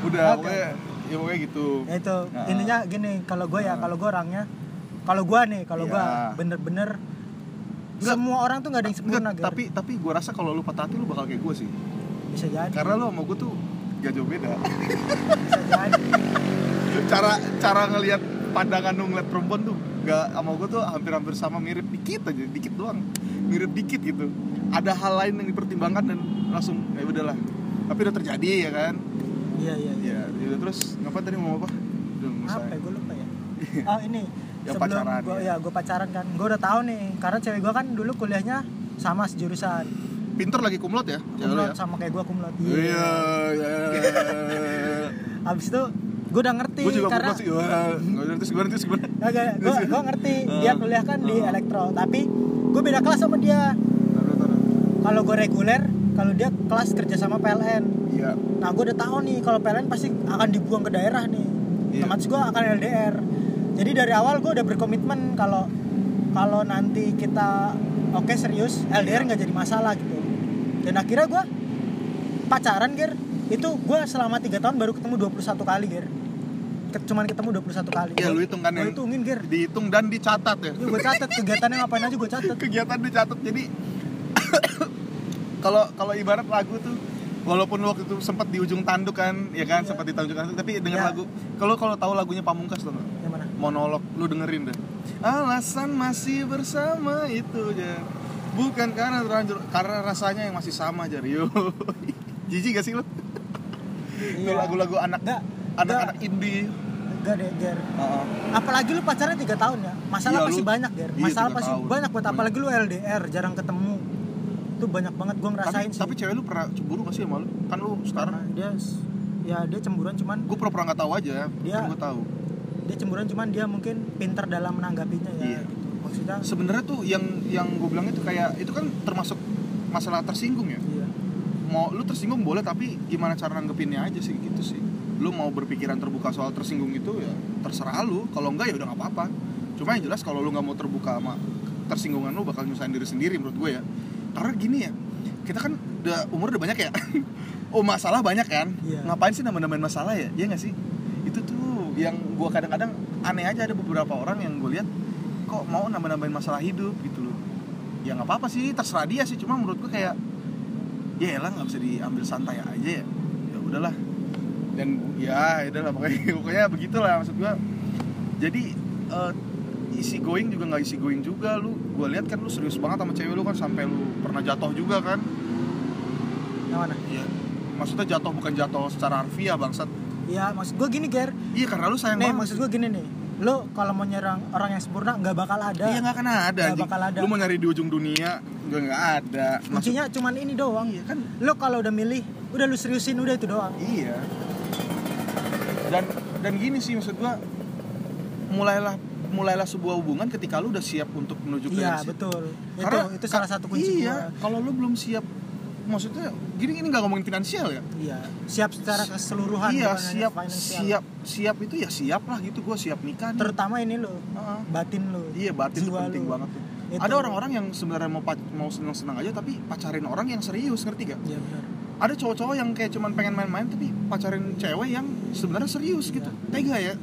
Udah, Oke. pokoknya, ya pokoknya gitu. ya itu Nah. intinya gini kalau gue ya kalau gue orangnya kalau gue nih kalau gue Iya. bener-bener Nggak. semua orang tuh nggak ada yang sempurna Enggak, Ger. tapi tapi gue rasa kalau lu patah hati lu bakal kayak gue sih. bisa jadi Karena lu sama gue tuh gak jauh beda. kan bisa jadi cara cara ngelihat pandangan lu ngeliat perempuan tuh gak sama gue tuh hampir-hampir sama mirip dikit aja dikit doang mirip dikit gitu ada hal lain yang dipertimbangkan dan langsung ya udahlah tapi udah terjadi ya kan iya iya iya ya, ya udah, terus ngapain tadi mau apa udah nggak usah apa ya gue lupa ya oh ini Iya. Yang sebelum pacaran, gue ya. ya gue pacaran kan gue udah tahu nih karena cewek gue kan dulu kuliahnya sama sejurusan pinter lagi kumlot ya ya lu ya kumlot sama kayak gue kumlot iya abis itu gue udah ngerti gue juga karena kumlot sih Wah, nggak udah, terus gimana terus gimana gue gue ngerti dia Ah. kuliah kan di Ah. elektro tapi gue beda kelas sama dia Taruh, taruh. kalau gue reguler kalau dia kelas kerja sama PLN iya nah gue udah tahu nih kalau PLN pasti akan dibuang ke daerah nih Iya. otomatis gue akan LDR jadi dari awal gue udah berkomitmen kalau kalau nanti kita oke serius LDR Iya. nggak jadi masalah gitu dan akhirnya gue pacaran ger itu gue selama 3 tahun baru ketemu 21 kali ger Ke- cuman ketemu 21 kali Iya, lu hitung kan gue yang- hitungin ger dihitung dan dicatat ya gue catet kegiatannya ngapain aja gue catet kegiatan dicatat jadi kalau kalau ibarat lagu tuh walaupun waktu itu sempat di ujung tanduk kan ya kan Iya. sempat di ujung tanduk tapi denger Iya. lagu kalau kalau tahu lagunya Pamungkas tuh yang mana monolog lu dengerin deh alasan masih bersama itu Jar bukan karena terlanjur karena rasanya yang masih sama Jar yo jijik gak sih lu Itu Iya. lagu-lagu anak Enggak, anak-anak indie enggak deh ger Heeh. apalagi lu pacarnya tiga tahun ya masalah Iya, pasti lu- banyak ya iya, masalah tiga pasti tahun. banyak buat Banyak. apalagi lu LDR jarang ketemu itu banyak banget gua tapi, ngerasain sih tapi cewek lu pernah cemburu gak sih sama lu kan lu Karena sekarang dia s- ya dia cemburuan cuman gue pura-pura nggak tahu aja Dia- kan gue tahu dia cemburuan cuman dia mungkin pinter dalam menanggapinya ya Iya. gitu. maksudnya sebenarnya tuh yang yang gue bilang itu kayak itu kan termasuk masalah tersinggung ya iya. mau lu tersinggung boleh tapi gimana cara nanggepinnya aja sih gitu sih lu mau berpikiran terbuka soal tersinggung itu ya terserah lu kalau enggak ya udah nggak apa-apa cuma yang jelas kalau lu nggak mau terbuka sama tersinggungan lu bakal nyusahin diri sendiri menurut gue ya karena gini ya kita kan udah umur udah banyak ya oh masalah banyak kan Iya. ngapain sih nambah-nambahin masalah ya iya nggak sih itu tuh yang gue kadang-kadang aneh aja ada beberapa orang yang gue lihat kok mau nambah-nambahin masalah hidup gitu loh ya nggak apa-apa sih terserah dia sih cuma menurut gue kayak ya elah nggak bisa diambil santai aja ya ya udahlah dan ya ya udahlah pokoknya pokoknya begitulah maksud gue jadi eh, isi going juga nggak isi going juga lu gue lihat kan lu serius banget sama cewek lu kan sampai lu pernah jatuh juga kan yang mana Iya. Maksudnya jatuh bukan jatuh secara harfiah bangsat. ya maksud gue gini ger Iya karena lu sayang nih banget. maksud gue gini nih lo kalau mau nyerang orang yang sempurna nggak bakal ada Iya nggak kena ada. Nggak anjing. bakal ada. Lu mau nyari di ujung dunia nggak nggak ada. Maksud- kuncinya cuman ini doang iya kan lo kalau udah milih udah lu seriusin udah itu doang iya. Dan dan gini sih maksud gua mulailah mulailah sebuah hubungan ketika lu udah siap untuk menuju ke iya yang situ. betul Karena itu itu salah ka- satu kunci Iya, kalau lu belum siap maksudnya gini gini nggak ngomongin finansial ya. gua. iya siap secara keseluruhan iya, bukan hanya siap finansial. siap siap itu ya siap lah gitu gua siap nikah. nih. terutama ini lo Heeh. batin lo Iya batin itu Jiwa penting lu. banget tuh. Itu. Ada orang-orang yang sebenarnya mau pac- mau seneng-seneng aja tapi pacarin orang yang serius ngerti gak? iya benar Ada cowok-cowok yang kayak cuman pengen main-main tapi pacarin cewek yang sebenarnya serius gitu. Iya. Tega ya.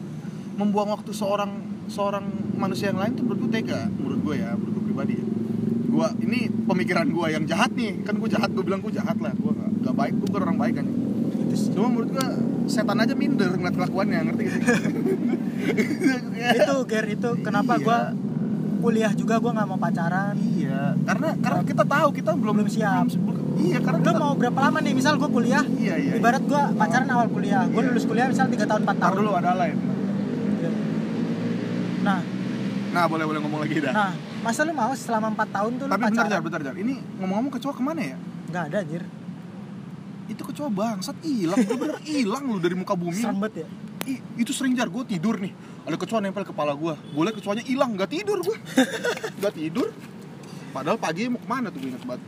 Membuang waktu seorang seorang manusia yang lain tuh menurut gue tega. Menurut gue ya, menurut gue pribadi ya. Gua ini pemikiran gue yang jahat nih. Kan gue jahat, gue bilang gue jahat lah. Gue gak, gak baik, gue bukan orang baik kan. itu sih. Cuma menurut gue setan aja minder ngeliat kelakuannya ngerti gak? itu ger itu kenapa Iya. gua kuliah juga gua nggak mau pacaran Iya, karena karena kita tahu kita belum Belum siap. belum- iya, karena lo kita mau berapa lama nih misal gua kuliah Iya, iya. iya. ibarat gua pacaran awal kuliah gua Iya. lulus kuliah misal 3 tahun 4 Ntar tahun Iya. dulu ada lain. nah Nah, boleh boleh ngomong lagi dah. nah masa lu mau selama 4 tahun tuh lu Tapi bentar jar, pacaran bentar jar. Ini ngomong-ngomong kecoa kemana ya? nggak ada anjir Itu kecoa bangsat hilang, Gua bener hilang lu dari muka bumi. serem banget ya Ih, itu sering jar gue tidur nih. Ada kecoa nempel kepala gue. Boleh kecoanya hilang, nggak tidur gue. nggak tidur. Padahal pagi mau kemana tuh gue ingat banget.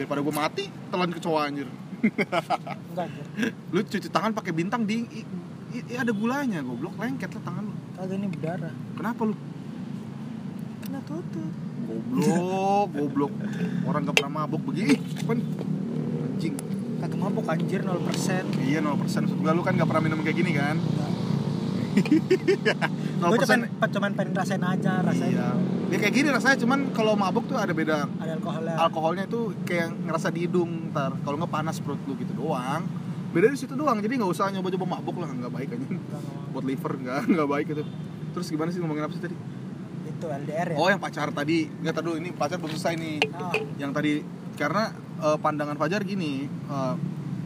Daripada gue mati, telan kecoa anjir. nggak anjir Lu cuci tangan pakai bintang di i- i- i- ada gulanya goblok lengket lah tangan lu. kagak ini berdarah Kenapa lu? kena tutup Goblok, goblok. Orang gak pernah mabok begini. Kan anjing. kagak mabuk anjir 0% Iya 0% maksud gua lu kan gak pernah minum kayak gini kan? gue 0% cuman, cuman pengen rasain aja rasanya Iya. Ya kayak gini rasanya cuman kalau mabok tuh ada beda ada alkoholnya alkoholnya itu kayak ngerasa di hidung ntar kalau nggak panas perut lu gitu doang beda di situ doang jadi nggak usah nyoba-nyoba mabok lah nggak baik aja Nggak mau. buat liver nggak nggak baik itu terus gimana sih ngomongin apa sih tadi itu LDR ya oh iya. yang pacar tadi nggak tadi ini pacar belum selesai nih Nah, yang tadi karena eh, pandangan Fajar gini eh,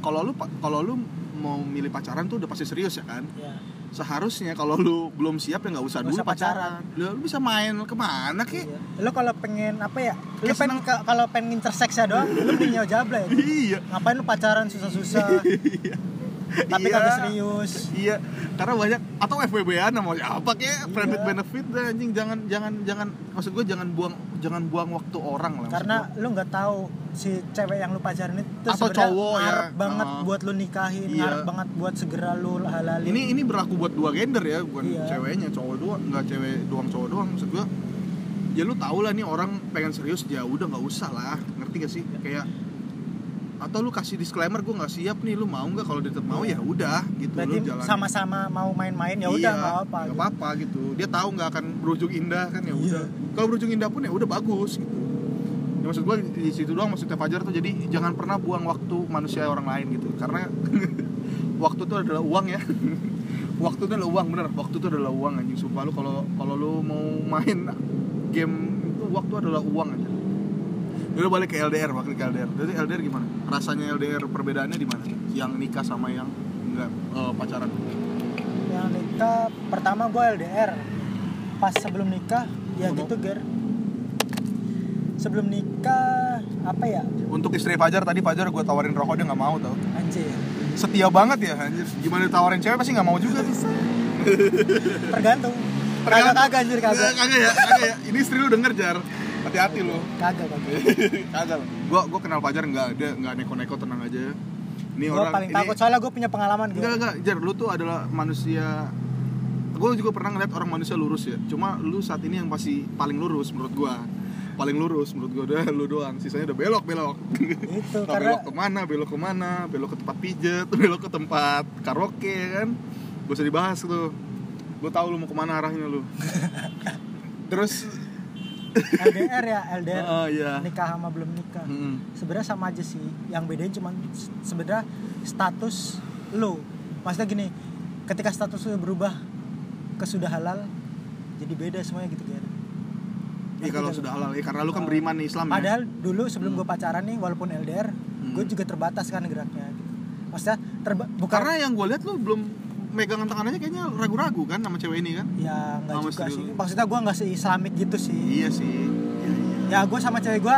kalau lu pa- kalau lu mau milih pacaran tuh udah pasti serius ya kan ya. seharusnya kalau lu belum siap ya nggak usah Nggak dulu usah pacaran. pacaran, Lu, lu bisa main kemana kek Iya. Lo kalau pengen apa ya? Lo Kayak pengen ka- kalau pengen ngincer seks ya doang, lo mending nyawa jabla ya. iya Ngapain lo pacaran susah-susah, tapi Iya. kagak serius. iya karena banyak atau FWB an mau apa kek friend with Iya. benefit dah, anjing jangan jangan jangan maksud gue jangan buang jangan buang waktu orang lah maksud Karena lo nggak tahu si cewek yang lo pacarin itu Atau sebenarnya cowok ya. ngarep banget Heeh. buat lo nikahin, Iya. ngarep banget buat segera lo gua. halalin. ini ini berlaku buat dua gender ya bukan Iya. ceweknya cowok doang nggak cewek doang cowok doang maksud gue ya lu tau lah nih orang pengen serius ya udah nggak usah lah ngerti gak Iya. sih kayak atau lu kasih disclaimer gue nggak siap nih lu mau nggak kalau dia tetap mau ya udah gitu Iya. berarti lu jalan Iya. sama-sama mau main-main ya udah nggak apa-apa. nggak gitu. apa-apa gitu dia tahu nggak akan berujung indah kan ya Iya. udah kalau berujung indah pun ya udah bagus gitu ya maksud gua di situ doang maksudnya Fajar tuh jadi jangan pernah buang waktu manusia orang lain gitu karena waktu itu adalah uang ya waktu itu adalah uang bener waktu itu adalah uang anjing sumpah lu kalau kalau lu mau main game itu waktu adalah uang aja udah balik ke LDR balik ke LDR jadi LDR gimana rasanya LDR perbedaannya di mana yang nikah sama yang enggak eh, pacaran Yang nikah pertama gue LDR. Pas sebelum nikah ya Ngomong. gitu ger. Sebelum nikah apa ya? Untuk istri Fajar tadi Fajar gue tawarin rokok dia nggak mau tau. Anjir. Setia banget ya anjir. Gimana ditawarin cewek pasti nggak mau juga tuh. Tergantung. Tergantung. Kagak kagak anjir kagak. Eh, Kagak ya, kagak ya. Ini istri lu denger jar. Hati-hati lu. Kagak kagak. Kagak. Gue gue kenal Fajar nggak ada nggak neko-neko tenang aja. Ini gue orang paling ini- takut soalnya gue punya pengalaman gue Enggak, enggak, Jar, lu tuh adalah manusia Gue juga pernah ngeliat orang manusia lurus ya Cuma lu saat ini yang pasti paling lurus menurut gua Paling lurus menurut gua udah lu doang Sisanya udah belok-belok itu Entah Gitu, karena Nah, belok kemana, belok kemana Belok ke tempat pijet, belok ke tempat karaoke ya kan Gak usah dibahas tuh Lu tahu lu mau kemana arahnya lu Terus LDR ya LDR Oh iya nikah sama belum nikah Mm-mm. sebenarnya sama aja sih yang bedain cuman se- sebenarnya status lo maksudnya gini ketika status lo berubah ke sudah halal jadi beda semuanya gitu kan Iya kalau sudah halal, ya, karena lu kan beriman nih Islam ya padahal dulu sebelum Hmm. gue pacaran nih walaupun LDR gue juga terbatas kan geraknya gitu maksudnya terba bukan Karena yang gue lihat lu belum megangan tangannya kayaknya ragu-ragu kan sama cewek ini kan ya nggak Sama juga istri sih dulu. maksudnya gue nggak se-islamik gitu sih Iya sih. Iya, iya. ya gue sama cewek gue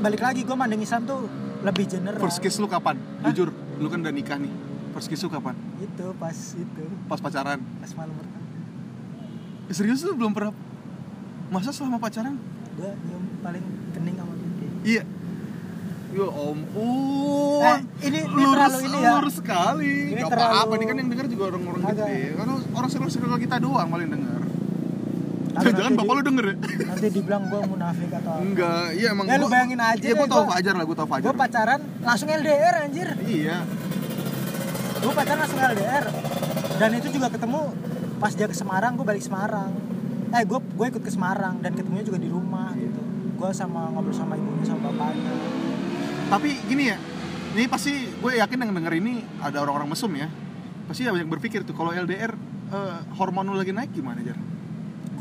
balik lagi gue mandang Islam tuh lebih general First kiss lu kapan? Jujur, lu kan udah nikah nih. First kiss lu kapan? itu gitu, pas itu Pas pacaran. Eh, pas malam pertama Serius lu belum pernah Masa selama pacaran? gue nyium paling kening sama pipi Iya. Ya ampun. Eh, ini- ini terlalu ini ya. lurus sekali. Ini Gak terlalu- apa-apa, ini kan yang denger juga orang-orang Agak. gede. Karena orang circle-circle kita doang paling denger. Lalu Jangan-jangan nanti bapak di- lu denger ya? nanti dibilang gue munafik atau apa. Enggak, iya emang Ya, lu gua- bayangin aja Iya, gua deh, tau gua- Fajar lah, gua tau Fajar gue pacaran langsung LDR anjir Iya, gue pacaran langsung LDR dan itu juga ketemu pas dia ke Semarang gue balik Semarang eh gue gue ikut ke Semarang dan ketemunya juga di rumah gitu gue sama ngobrol sama ibunya sama bapaknya tapi gini ya ini pasti gue yakin yang denger ini ada orang-orang mesum ya pasti ada yang berpikir tuh kalau LDR eh, hormon lu lagi naik gimana jar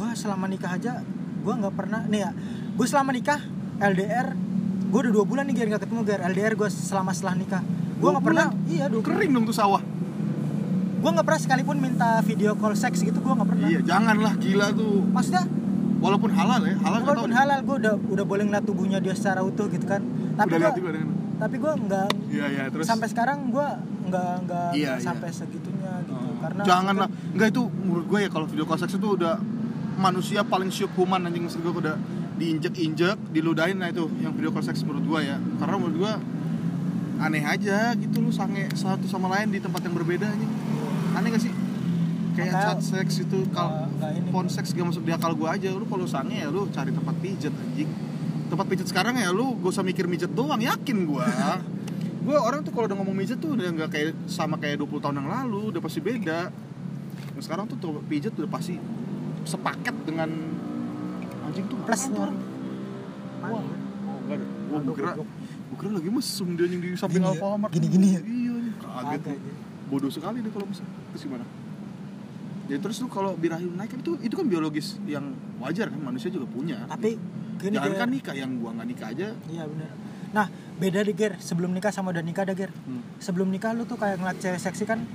gue selama nikah aja gue nggak pernah nih ya gue selama nikah LDR gue udah dua bulan nih gak ketemu gar LDR gue selama setelah nikah gue Dua nggak pernah bulan? iya dua kering dong tuh sawah gue nggak pernah sekalipun minta video call seks gitu gue nggak pernah iya janganlah gila tuh maksudnya walaupun halal ya halal nggak walaupun tahu halal gue udah udah boleh ngeliat tubuhnya dia secara utuh gitu kan deh. udah tapi gua, lihat juga dengan tapi gue nggak iya iya terus sampai sekarang gue nggak nggak Iya, nggak iya. sampai segitunya gitu Oh, karena janganlah mungkin- nggak itu menurut gue ya kalau video call seks itu udah manusia paling human anjing maksud gue udah diinjek-injek diludahin nah itu yang video call seks menurut gue ya karena menurut gue aneh aja gitu lu sange satu sama lain di tempat yang berbeda anjing aneh gak sih kayak Makanya- chat seks itu kalau nggak ini. phone seks gak masuk di akal gue aja lu kalau sange ya lu cari tempat pijet anjing tempat pijet sekarang ya lu gak usah mikir mijet doang yakin gue gue orang tuh kalau udah ngomong mijet tuh udah nggak kayak sama kayak 20 tahun yang lalu udah pasti beda Nah, sekarang tuh tempat pijet udah pasti sepaket dengan anjing tuh plus apaan tuh? norm Wah, oh, enggak ada. Gua kira, gua kira lagi mesum dia anjing di samping Gini ya? Alfamart. Gini-gini ya? Iya, anjing. kaget. Agak gua. Bodoh sekali deh kalau mesum. Terus gimana? Jadi terus lu kalau birahi lu naik kan itu itu kan biologis yang wajar kan manusia juga punya. tapi gini Jangan Ger. kan nikah yang gua nggak nikah aja. iya benar nah beda deh ger sebelum nikah sama udah nikah deh ger Hmm. sebelum nikah lu tuh kayak ngeliat cewek seksi kan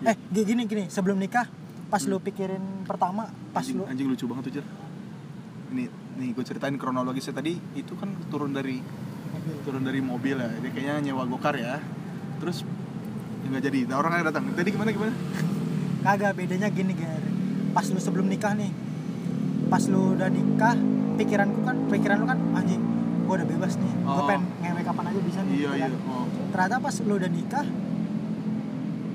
Iya. eh gi- gini gini sebelum nikah pas Hmm. lu pikirin pertama pas anjing, lu anjing lucu banget tuh, Jar. Ini nih gue ceritain kronologisnya tadi itu kan turun dari turun dari mobil ya. Dia kayaknya nyewa gokar ya. Terus nggak jadi. Nah, orangnya datang. Tadi gimana gimana? kagak bedanya gini ger pas lu sebelum nikah nih pas lu udah nikah pikiranku kan pikiran lu kan anjing gua udah bebas nih gua Oh. pengen ngewe kapan aja bisa nih Iya gitu iya. kan. Oh. ternyata pas lu udah nikah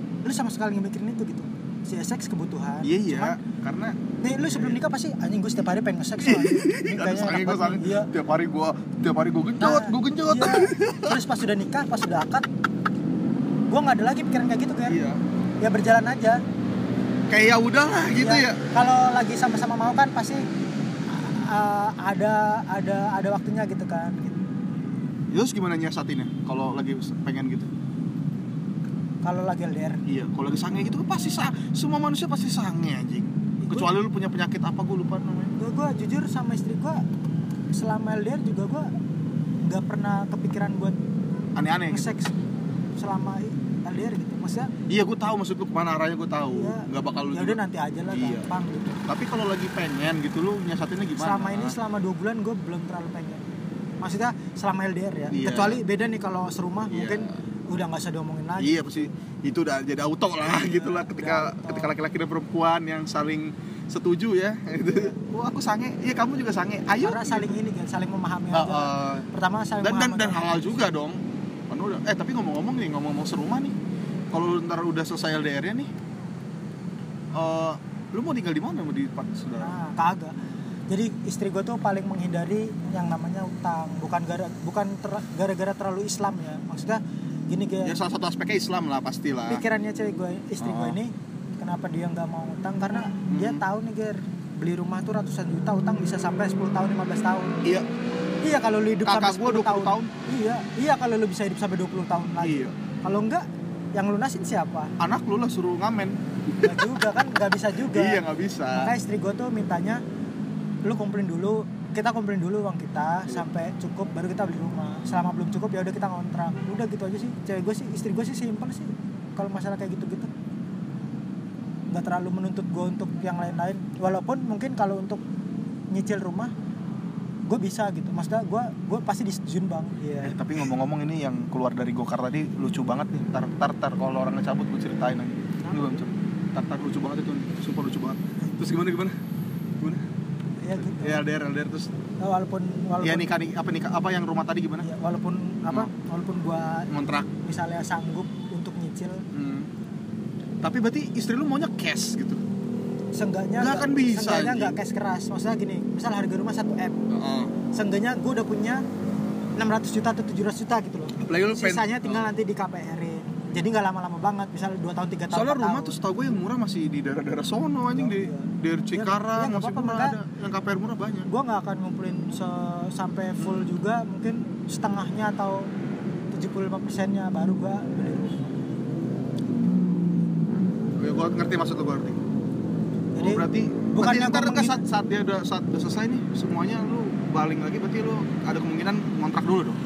lu sama sekali nggak mikirin itu gitu si seks kebutuhan Iya iya, Cuman, karena nih lu sebelum nikah pasti anjing gue setiap hari pengen nge-seks nih Ini Iya, Aduh, kayaknya sange enak gue sange banget nih. Iya. Tiap hari gue Tiap hari gue Nah, genjot Gue genjot iya. terus pas udah nikah pas udah akad gue nggak ada lagi pikiran kayak gitu kan Iya ya berjalan aja Kayak ya udah lah gitu ya, Iya. kalau lagi sama-sama mau kan pasti uh, ada ada ada waktunya gitu kan gitu. Terus gimana nyiasatinnya Kalau lagi pengen gitu kalau lagi LDR Iya Kalau lagi sange gitu Pasti sa Semua manusia pasti sange anjing Kecuali lu punya penyakit apa Gue lupa namanya gue gue jujur sama istri gue selama LDR juga gue nggak pernah kepikiran buat Aneh-aneh gitu. nge-sex selama LDR gitu maksudnya Iya gue tahu maksud lu kemana arahnya gue tahu Iya. nggak bakal lu ya udah juga. nanti aja lah Iya. gampang gitu Tapi kalau lagi pengen gitu Lu nyiasatinnya gimana selama ini selama dua bulan gue belum terlalu pengen maksudnya selama LDR ya Iya. kecuali beda nih kalau serumah Iya. mungkin udah nggak usah diomongin lagi Iya pasti itu udah jadi auto lah Iya, gitu lah ketika udah auto. ketika laki-laki dan perempuan yang saling setuju ya gitu. Oh, Iya. Wah aku sange, iya kamu juga sange. Ayo. karena saling ini kan saling memahami Nah, aja eh, pertama saling dan dan memahami dan aja. halal juga dong. Kan udah. Eh tapi ngomong-ngomong nih, ngomong-ngomong serumah nih. Kalau lu ntar udah selesai LDR-nya nih, eh lu mau tinggal di mana? Mau di tempat saudara? Nah, kagak. Jadi istri gue tuh paling menghindari yang namanya utang, bukan gara bukan ter- gara-gara terlalu Islam ya. Maksudnya gini Ya kayak salah satu aspeknya Islam lah pastilah. pikirannya cewek gue, istri gue Oh. ini kenapa dia nggak mau utang karena Mhm. dia tahu nih ger beli rumah tuh ratusan juta utang bisa sampai 10 tahun 15 tahun. Iya, Iya kalau lu hidup kakak gua sampai 10 20 tahun. Iya, iya kalau lu bisa hidup sampai 20 tahun lagi. Iya. Kalau enggak yang lunasin siapa? Anak lu lah suruh ngamen. Enggak juga kan, nggak bisa juga. Iya nggak bisa. Makanya istri gue tuh mintanya lu kumpulin dulu, kita kumpulin dulu uang kita Iya. sampai cukup baru kita beli rumah. Selama belum cukup ya udah kita ngontrak. Udah gitu aja sih. Cewek gue sih, istri gue sih simpel sih. Kalau masalah kayak gitu-gitu nggak terlalu menuntut gue untuk yang lain-lain. Walaupun mungkin kalau untuk nyicil rumah gue bisa gitu. Maksudnya gue gue pasti disetujun bang. Iya. Eh, tapi ngomong-ngomong ini yang keluar dari Gokar tadi lucu banget nih. Tar tar tar kalau orang ngecabut gue ceritain aja. Ini belum cabut. Tar tar lucu banget itu, super lucu banget. Terus gimana gimana? Gimana? Ya gitu. Ya LDR LDR terus. Walaupun walaupun Ya nikah nih apa nikah apa yang rumah tadi gimana? Hmm. ya, walaupun apa? Walaupun gue Ngontrak. misalnya sanggup untuk nyicil Hmm. Tapi berarti istri lu maunya cash gitu. seenggaknya Nggak akan bisa, seenggaknya anjing. nggak cash keras maksudnya gini misal harga rumah 1 m Heeh. seenggaknya gue udah punya 600 juta atau 700 juta gitu loh Apalagi lu Oh. pengen- sisanya tinggal nanti di KPR -in. jadi nggak lama-lama banget misal 2 tahun 3 tahun Soalnya empat rumah tahun. tuh setahu gue yang murah masih di daerah-daerah sono anjing di Iya. daerah Cikarang Ya, nggak masih apa-apa, murah mereka- ada. Yang KPR murah banyak. gue nggak akan ngumpulin se- sampai full Hmm. juga mungkin setengahnya atau 75 persennya baru gue beli rumah Ya, gue ngerti maksud lu gue ngerti. jadi oh, berarti bukan berarti yang ntar gua kan menghina- saat, saat dia udah saat udah selesai nih semuanya lu baling lagi berarti lu ada kemungkinan kontrak dulu dong.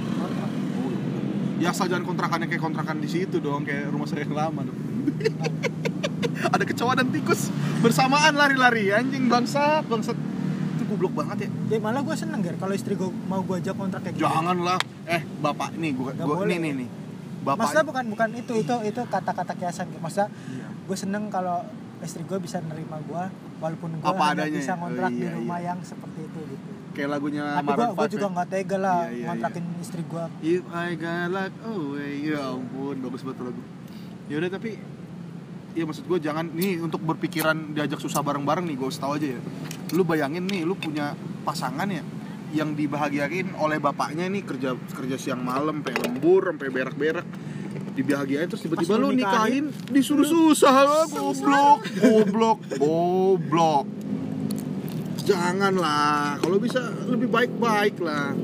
Ya asal jangan kontrakannya kayak kontrakan di situ dong kayak rumah saya yang lama dong. ada kecoa dan tikus bersamaan lari-lari anjing bangsat bangsat itu goblok banget ya ya malah gue seneng ger kalau istri gue mau gue ajak kontrak kayak gitu janganlah eh bapak nih gua, Nggak gua nih boleh. nih nih bapak maksudnya bukan bukan itu itu itu kata-kata kiasan Ger. maksudnya Iya. gue seneng kalau istri gue bisa nerima gue walaupun gue Apa hanya adanya bisa ya? ngontrak Oh, di iya, rumah iya. yang seperti itu gitu kayak lagunya tapi gue Maroon gue 5 juga ya. nggak tega lah Iya, iya, ngontrakin istri gue If I got luck away Ya ampun, bagus banget tuh lagu Yaudah tapi Ya maksud gue jangan Nih untuk berpikiran diajak susah bareng-bareng nih Gue tahu aja ya Lu bayangin nih, lu punya pasangan ya Yang dibahagiain oleh bapaknya nih Kerja kerja siang malam, sampai lembur, sampai berak-berak dibahagiain terus tiba-tiba Pas lu lu nikahin nikahin, disuruh susah lah goblok goblok goblok janganlah kalau bisa lebih baik-baik lah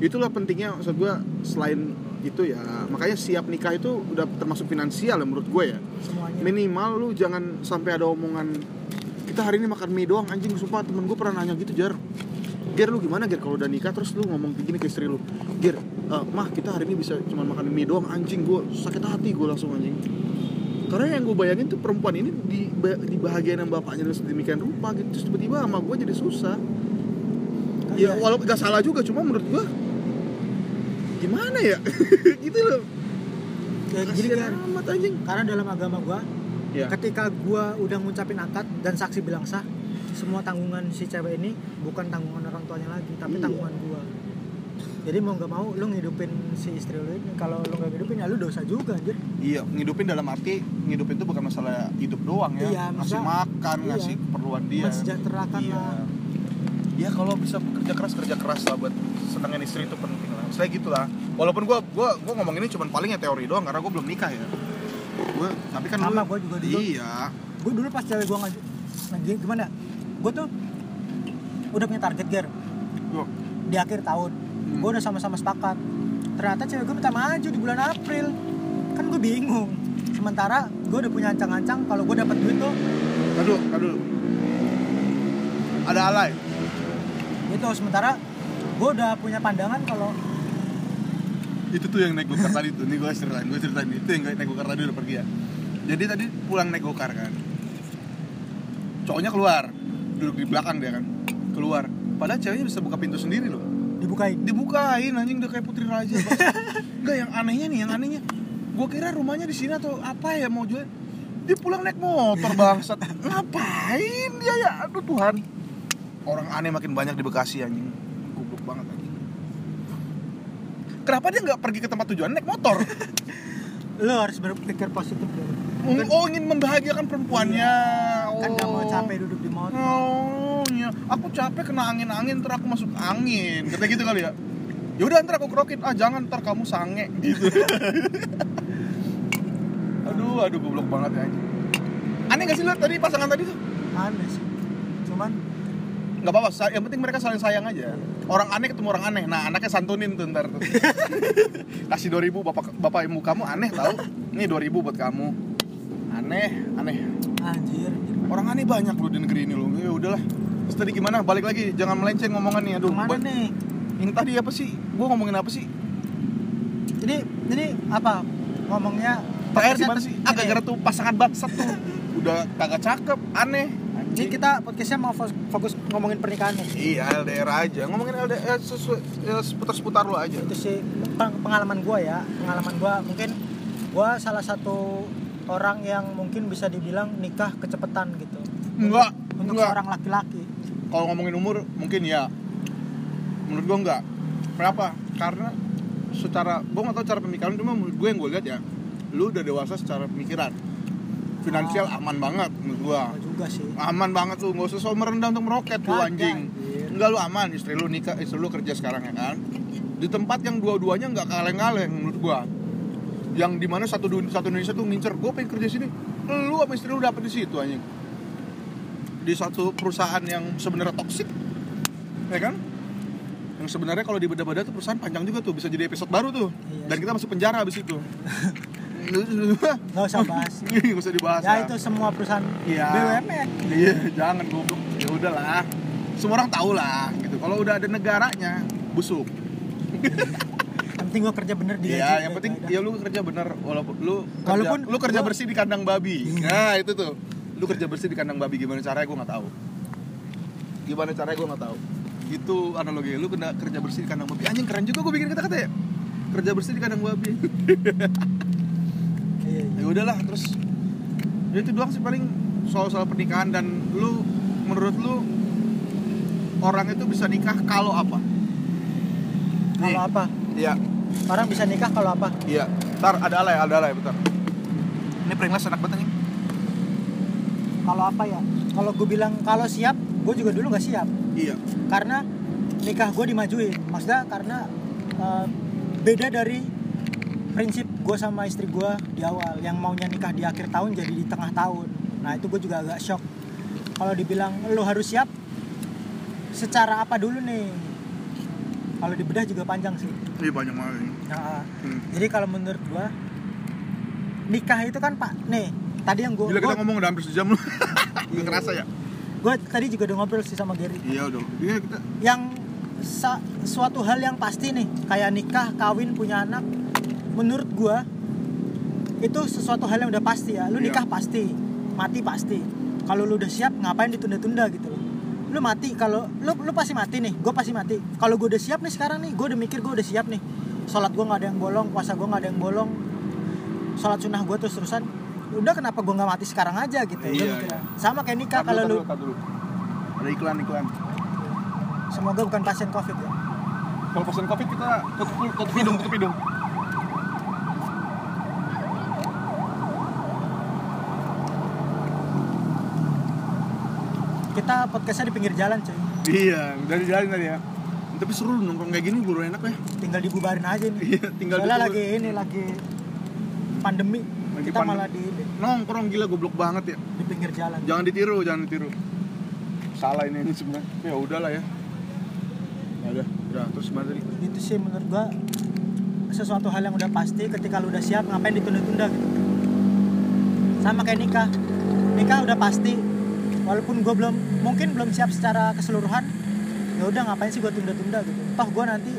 itulah pentingnya maksud gue selain itu ya makanya siap nikah itu udah termasuk finansial ya menurut gue ya semuanya minimal lu jangan sampai ada omongan kita hari ini makan mie doang anjing sumpah temen gue pernah nanya gitu jar Ger lu gimana Ger kalau udah nikah terus lu ngomong kayak gini ke istri lu Ger, eh, mah kita hari ini bisa cuma makan mie doang anjing gue sakit hati gue langsung anjing karena yang gue bayangin tuh perempuan ini di, di bahagian yang bapaknya udah sedemikian rupa gitu terus tiba-tiba sama gue jadi susah ya Iya. walaupun gak salah juga cuma menurut gue gimana ya gitu loh Ya, jadi kasihan Ger, amat anjing karena dalam agama gue ya ketika gue udah ngucapin akad dan saksi bilang sah semua tanggungan si cewek ini bukan tanggungan orang tuanya lagi tapi Iya. tanggungan gue jadi mau nggak mau lu ngidupin si istri lu ini kalau lu nggak ngidupin ya lu dosa juga anjir Iya, ngidupin dalam arti ngidupin itu bukan masalah hidup doang ya. Iya, ngasih maksudnya- makan, iya. ngasih keperluan dia. mensejahterakan Iya. lah Ya kalau bisa kerja keras kerja keras lah buat senengin istri itu penting lah. Saya gitulah. Walaupun gua gua gua ngomong ini cuman paling ya teori doang karena gua belum nikah ya. Gua tapi kan Sama, lu- gua juga dulu. Iya. gue dulu pas cewek gue ngajak nah, dia gimana gue tuh udah punya target gear Gua di akhir tahun Hmm. gue udah sama-sama sepakat ternyata cewek gue minta maju di bulan April kan gue bingung sementara gue udah punya ancang-ancang kalau gue dapat duit tuh Ntar dulu, ntar dulu. Ada alay. gitu sementara gue udah punya pandangan kalau itu tuh yang naik gokar tadi tuh nih gue ceritain gue ceritain itu yang naik gokar tadi udah pergi ya jadi tadi pulang naik gokar kan cowoknya keluar duduk di belakang dia kan keluar padahal ceweknya bisa buka pintu sendiri loh dibukain dibukain anjing udah kayak putri raja bangsa. enggak yang anehnya nih yang anehnya gue kira rumahnya di sini atau apa ya mau jual dia pulang naik motor bangsat ngapain dia ya aduh Tuhan orang aneh makin banyak di Bekasi anjing goblok banget anjing kenapa dia nggak pergi ke tempat tujuan naik motor lo harus berpikir positif dulu Mm, oh ingin membahagiakan perempuannya oh. kan gak mau capek duduk di motor oh iya aku capek kena angin angin ntar aku masuk angin kata gitu kali ya ya udah ntar aku kerokin ah jangan ntar kamu sange gitu aduh aduh goblok banget ya anjing aneh gak sih lu tadi pasangan tadi tuh aneh sih cuman nggak apa-apa sa- yang penting mereka saling sayang aja orang aneh ketemu orang aneh nah anaknya santunin tuh ntar tuh. kasih 2000 bapak bapak ibu kamu aneh tahu ini 2000 buat kamu aneh aneh anjir orang aneh banyak loh di negeri ini loh ya udahlah terus tadi gimana balik lagi jangan melenceng ngomongan nih aduh kemana ba- nih yang tadi apa sih gua ngomongin apa sih jadi jadi apa ngomongnya eh, terakhir podcastnya gimana ter- sih ini. agak gara tuh pasangan bangsat tuh udah kagak cakep aneh jadi kita podcastnya mau fos- fokus ngomongin pernikahan nih iya LDR aja ngomongin LDR sesuai ya, seputar-seputar lo aja itu sih peng- pengalaman gua ya pengalaman gua mungkin gua salah satu orang yang mungkin bisa dibilang nikah kecepatan gitu Enggak, untuk enggak. seorang laki-laki kalau ngomongin umur mungkin ya menurut gue enggak kenapa karena secara gue nggak tahu cara pemikiran cuma menurut gue yang gue lihat ya lu udah dewasa secara pemikiran finansial aman banget menurut gue Gua juga sih aman banget lu nggak usah sok merendah untuk meroket lu Kagak, anjing anjir. enggak lu aman istri lu nikah istri lu kerja sekarang ya kan di tempat yang dua-duanya nggak kaleng-kaleng menurut gua yang dimana satu dun- satu Indonesia tuh ngincer gua pengen kerja sini lu apa istri lu dapet di situ anjing di satu perusahaan yang sebenarnya toksik ya kan yang sebenarnya kalau dibedah-bedah tuh perusahaan panjang juga tuh bisa jadi episode baru tuh Iya dan sih. kita masuk penjara habis itu nggak usah bahas nggak usah dibahas ya itu semua perusahaan Iya. BUMN Iya, jangan goblok. Ya udahlah. Semua orang tahu lah gitu. Kalau udah ada negaranya, busuk. yang penting gua kerja bener di Iya, yang penting ya lu kerja bener walaupun lu kerja, Walaupun lu kerja gua- bersih di kandang babi. Nah, itu tuh. Lu kerja bersih di kandang babi gimana caranya gua nggak tahu. Gimana caranya gua nggak tahu. Itu analogi lu kena kerja bersih di kandang babi. Anjing keren juga gua bikin kata-kata ya. Kerja bersih di kandang babi. Iya, iya. ya udahlah terus ya itu doang sih paling soal soal pernikahan dan lu menurut lu orang itu bisa nikah kalau apa kalau apa iya orang bisa nikah kalau apa iya ntar ada alay ada alay bentar ini pringles enak banget nih kalau apa ya kalau gue bilang kalau siap gue juga dulu nggak siap iya karena nikah gue dimajuin maksudnya karena eh, beda dari prinsip gue sama istri gue di awal yang maunya nikah di akhir tahun jadi di tengah tahun nah itu gue juga agak shock kalau dibilang lo harus siap secara apa dulu nih kalau dibedah juga panjang sih iya banyak banget ini. nah, hmm. jadi kalau menurut gue nikah itu kan pak nih tadi yang gue Gila kita ngomong udah hampir sejam lu Gak kerasa ya? gue tadi juga udah ngobrol sih sama Gary Iya udah Iya kita yang sa- suatu hal yang pasti nih kayak nikah kawin punya anak menurut gua itu sesuatu hal yang udah pasti ya lu Iya. nikah pasti mati pasti kalau lu udah siap ngapain ditunda-tunda gitu loh lu mati kalau lu lu pasti mati nih gue pasti mati kalau gue udah siap nih sekarang nih gue udah mikir gue udah siap nih sholat gue nggak ada yang bolong puasa gue nggak ada yang bolong sholat sunnah gue terus terusan udah kenapa gue nggak mati sekarang aja gitu Gua Iya, mikirnya. iya. sama kayak nikah Tar kalau dulu, lu tar dulu, tar dulu. Ada iklan-iklan semoga bukan pasien covid ya Kalau pesen covid kita tutup, tutup hidung, tutup hidung kita podcastnya di pinggir jalan cuy Iya, udah dijalin tadi ya Tapi seru nongkrong kayak gini buru enak ya tinggal dibubarin aja nih Iya, tinggal soalnya dikubur. lagi ini lagi pandemi Lagi kita pandemi. malah di nongkrong gila goblok banget ya di pinggir jalan jangan ditiru jangan ditiru salah ini ini sebenarnya ya udahlah ya ya udah udah terus gimana tadi itu Gitu sih menurut gua sesuatu hal yang udah pasti ketika lu udah siap ngapain ditunda-tunda gitu sama kayak nikah nikah udah pasti walaupun gua belum mungkin belum siap secara keseluruhan ya udah ngapain sih gua tunda-tunda gitu toh gua nanti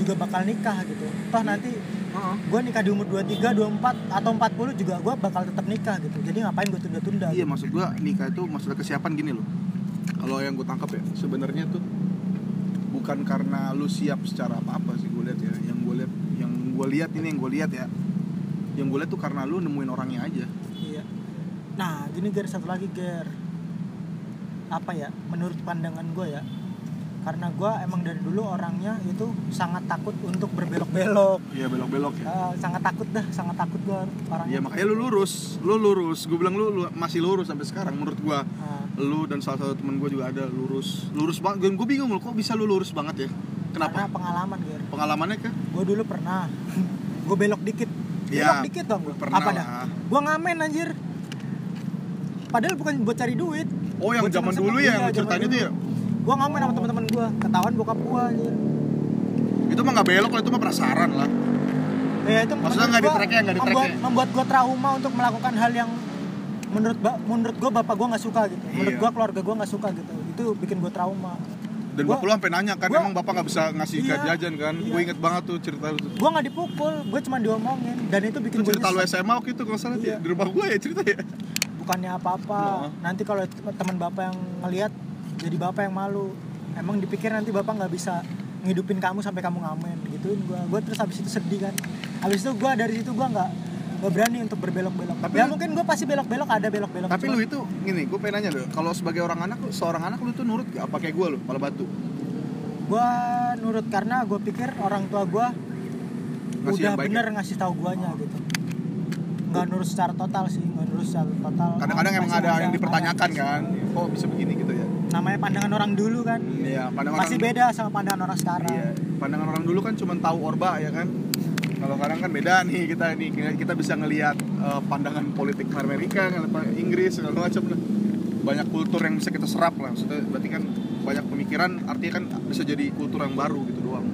juga bakal nikah gitu toh nanti gue nikah di umur 23, 24 atau 40 juga gue bakal tetap nikah gitu. Jadi ngapain gue tunda-tunda? gitu. iya maksud gua nikah itu masalah kesiapan gini loh kalau yang gua tangkap ya sebenarnya tuh bukan karena lu siap secara apa apa sih gua lihat ya yang gua lihat yang gua lihat ini yang gua lihat ya yang gua lihat tuh karena lu nemuin orangnya aja Iya. Nah, gini Ger, satu lagi Ger. Apa ya? Menurut pandangan gue ya, karena gue emang dari dulu orangnya itu sangat takut untuk berbelok-belok Iya belok-belok ya. Eh, sangat takut dah sangat takut gue Iya orangnya makanya lu lurus, lu lurus. Gue bilang lu, lu masih lurus sampai sekarang menurut gua. Eh, Lu dan salah satu temen gua juga ada lurus, lurus banget. Gue bingung lu kok bisa lu lurus banget ya? karena Kenapa? pengalaman gitu Pengalamannya ke? gue dulu pernah gue belok dikit belok Iya, dikit dong gue pernah apa lah. dah gue ngamen anjir padahal bukan buat cari duit Oh yang Buat zaman dulu seneng-seneng, ya, iya, yang zaman ceritain itu dulu. ya. gue ngamen sama teman-teman gue ketahuan bokap gue anjir Itu mah nggak belok, lah, itu mah prasaran lah. ya itu Maksudnya menurut nggak di gua track-nya, nggak ya? di membuat, track-nya. membuat gue trauma untuk melakukan hal yang menurut ba- menurut gue bapak gue nggak suka gitu menurut Iya. gue keluarga gue nggak suka gitu itu bikin gue trauma Dan Gua- bapak lu sampai nanya kan, gua- emang bapak nggak bisa ngasih Iya, jajan kan? iya. Gue inget banget tuh cerita lu. tuh. gue nggak dipukul gue cuma diomongin dan itu bikin Itu gue cerita lu SMA waktu itu kalau nggak salah Iya. ya. di rumah gue ya cerita ya. bukannya apa-apa Nah. nanti kalau teman bapak yang ngelihat jadi bapak yang malu emang dipikir nanti bapak nggak bisa ngidupin kamu sampai kamu ngamen gituin gua gua terus habis itu sedih kan habis itu gua dari situ gua nggak nggak berani untuk berbelok-belok Tapi- ya mungkin gua pasti belok-belok ada belok-belok Tapi Cuma lu itu gini, gue pengen nanya deh, kalau sebagai orang anak, lu- seorang anak lu tuh nurut gak? Apa kayak gue lu, pala batu? gua nurut karena gua pikir orang tua gua Ngasih udah yang baik ya? Oh. bener ngasih tahu guanya gitu nggak nurut secara total sih nggak nurut secara total Kadang-kadang emang Masih ada yang dipertanyakan ada. kan, kok bisa begini gitu ya? namanya pandangan orang dulu kan Iya, pandangan pasti orang, beda sama pandangan orang sekarang iya. pandangan orang dulu kan cuma tahu orba ya kan. Kalau sekarang kan beda nih kita nih Kita- kita bisa ngelihat eh, pandangan politik Amerika, ngelihat Inggris segala macam lah. Banyak kultur yang bisa kita serap lah. Maksudnya berarti kan banyak pemikiran artinya kan bisa jadi kultur yang baru gitu doang.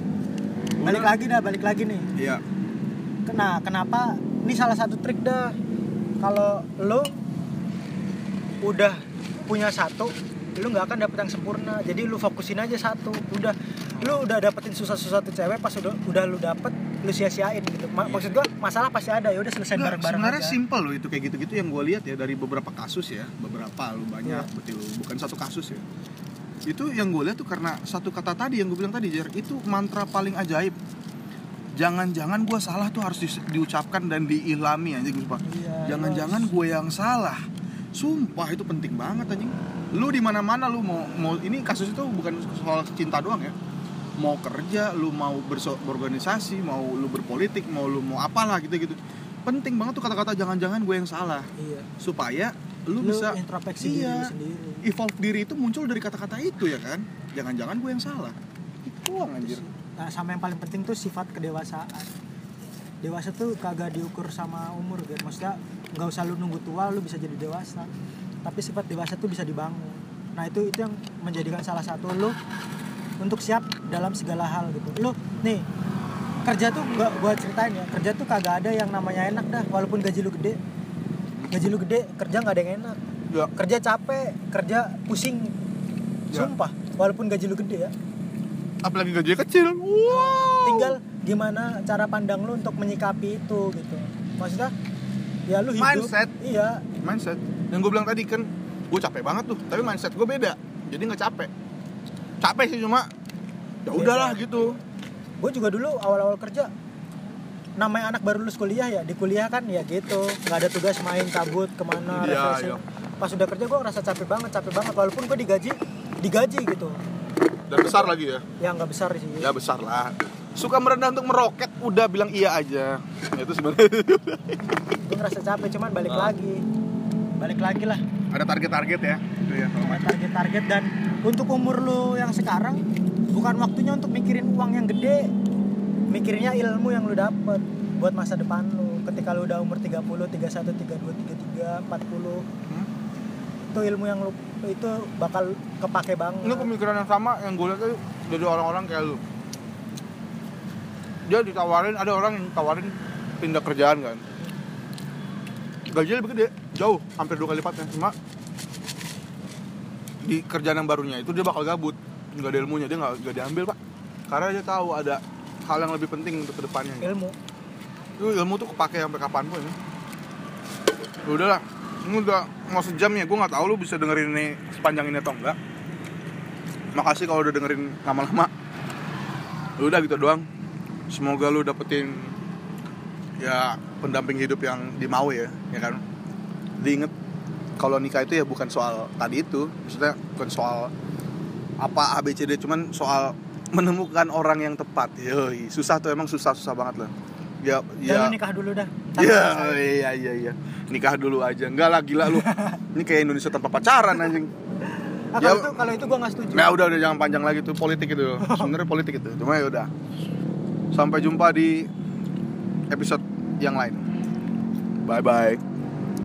balik lagi dah balik lagi nih Iya. nah kenapa ini salah satu trik dah kalau lo udah punya satu lo nggak akan dapet yang sempurna jadi lo fokusin aja satu udah lo udah dapetin susah-susah tuh cewek pas udah udah lo dapet lo sia-siain gitu Ma- maksud gua masalah pasti ada ya udah selesai Enggak, bareng-bareng Iya. sebenarnya aja. simpel loh itu kayak gitu-gitu yang gue lihat ya dari beberapa kasus ya beberapa lu banyak Iya. berarti lu bukan satu kasus ya itu yang gue lihat tuh karena satu kata tadi yang gue bilang tadi Jer itu mantra paling ajaib jangan-jangan gue salah tuh harus di- diucapkan dan diilami anjing sumpah Iya, jangan-jangan gue yang salah sumpah itu penting banget anjing lu di mana-mana lu mau mau ini kasus itu bukan soal cinta doang ya mau kerja, lu mau berso- berorganisasi, mau lu berpolitik, mau lu mau apalah gitu-gitu. Penting banget tuh kata-kata jangan-jangan gue yang salah iya. supaya lu, lo bisa introspeksi diri iya, lo sendiri evolve diri itu muncul dari kata-kata itu ya kan. Jangan-jangan gue yang salah. Itu doang anjir. Nah, sama yang paling penting tuh sifat kedewasaan. Dewasa tuh kagak diukur sama umur, gitu. Maksudnya nggak usah lu nunggu tua, lu bisa jadi dewasa. Tapi sifat dewasa tuh bisa dibangun. Nah itu itu yang menjadikan salah satu lu untuk siap dalam segala hal gitu. Lu nih kerja tuh gua, gua ceritain ya kerja tuh kagak ada yang namanya enak dah walaupun gaji lu gede gaji lu gede kerja nggak ada yang enak Ya, kerja capek kerja pusing Ya. sumpah walaupun gaji lu gede ya apalagi gajinya kecil. Wow. tinggal gimana cara pandang lu untuk menyikapi itu gitu maksudnya ya lu hidup Mindset. iya mindset. Yang gue bilang tadi kan gue capek banget tuh, tapi mindset gue beda. Jadi nggak capek. Capek sih cuma ya udahlah gitu. gue juga dulu awal-awal kerja namanya anak baru lulus kuliah ya di kuliah kan ya gitu nggak ada tugas main cabut kemana Iya, refreshing iya. pas udah kerja gue ngerasa capek banget capek banget walaupun gue digaji digaji gitu Dan besar lagi ya. ya nggak besar sih ya besar lah suka merendah untuk meroket udah bilang iya aja Ya, itu sebenarnya gue ngerasa capek cuman balik Ah. lagi balik lagi lah ada target-target ya itu ya kalau Sama target-target dan untuk umur lu yang sekarang bukan waktunya untuk mikirin uang yang gede mikirnya ilmu yang lu dapet buat masa depan lu ketika lu udah umur 30, 31, 32, 33, 40 Hmm? itu ilmu yang lu itu bakal kepake banget lu pemikiran yang sama yang gue lihat tuh dari orang-orang kayak lu dia ditawarin ada orang yang tawarin pindah kerjaan kan gajinya lebih gede jauh hampir dua kali lipatnya cuma di kerjaan yang barunya itu dia bakal gabut nggak ada ilmunya dia nggak nggak diambil pak karena dia tahu ada hal yang lebih penting untuk kedepannya ilmu Lu ilmu tuh kepake sampai kapanpun ya. Ya udahlah, ini udah mau sejam ya, gue nggak tahu lu bisa dengerin ini sepanjang ini atau enggak. Makasih kalau udah dengerin lama-lama. Ya Udah gitu doang. Semoga lu dapetin ya pendamping hidup yang dimau ya, ya kan. Diinget kalau nikah itu ya bukan soal tadi itu, maksudnya bukan soal apa ABCD cuman soal menemukan orang yang tepat. Yoi, susah tuh emang susah-susah banget lah. Ya, ya. Ya. lu nikah dulu dah. Tapi Iya, selesai. iya, iya, iya. Nikah dulu aja. Enggak lah gila lu. Ini kayak Indonesia tanpa pacaran anjing. Ah, kalau Ya. itu kalau itu gua nggak setuju. Nah, udah udah jangan panjang lagi tuh politik itu. Sebenarnya politik itu. Cuma ya udah. Sampai jumpa di episode yang lain. Bye bye.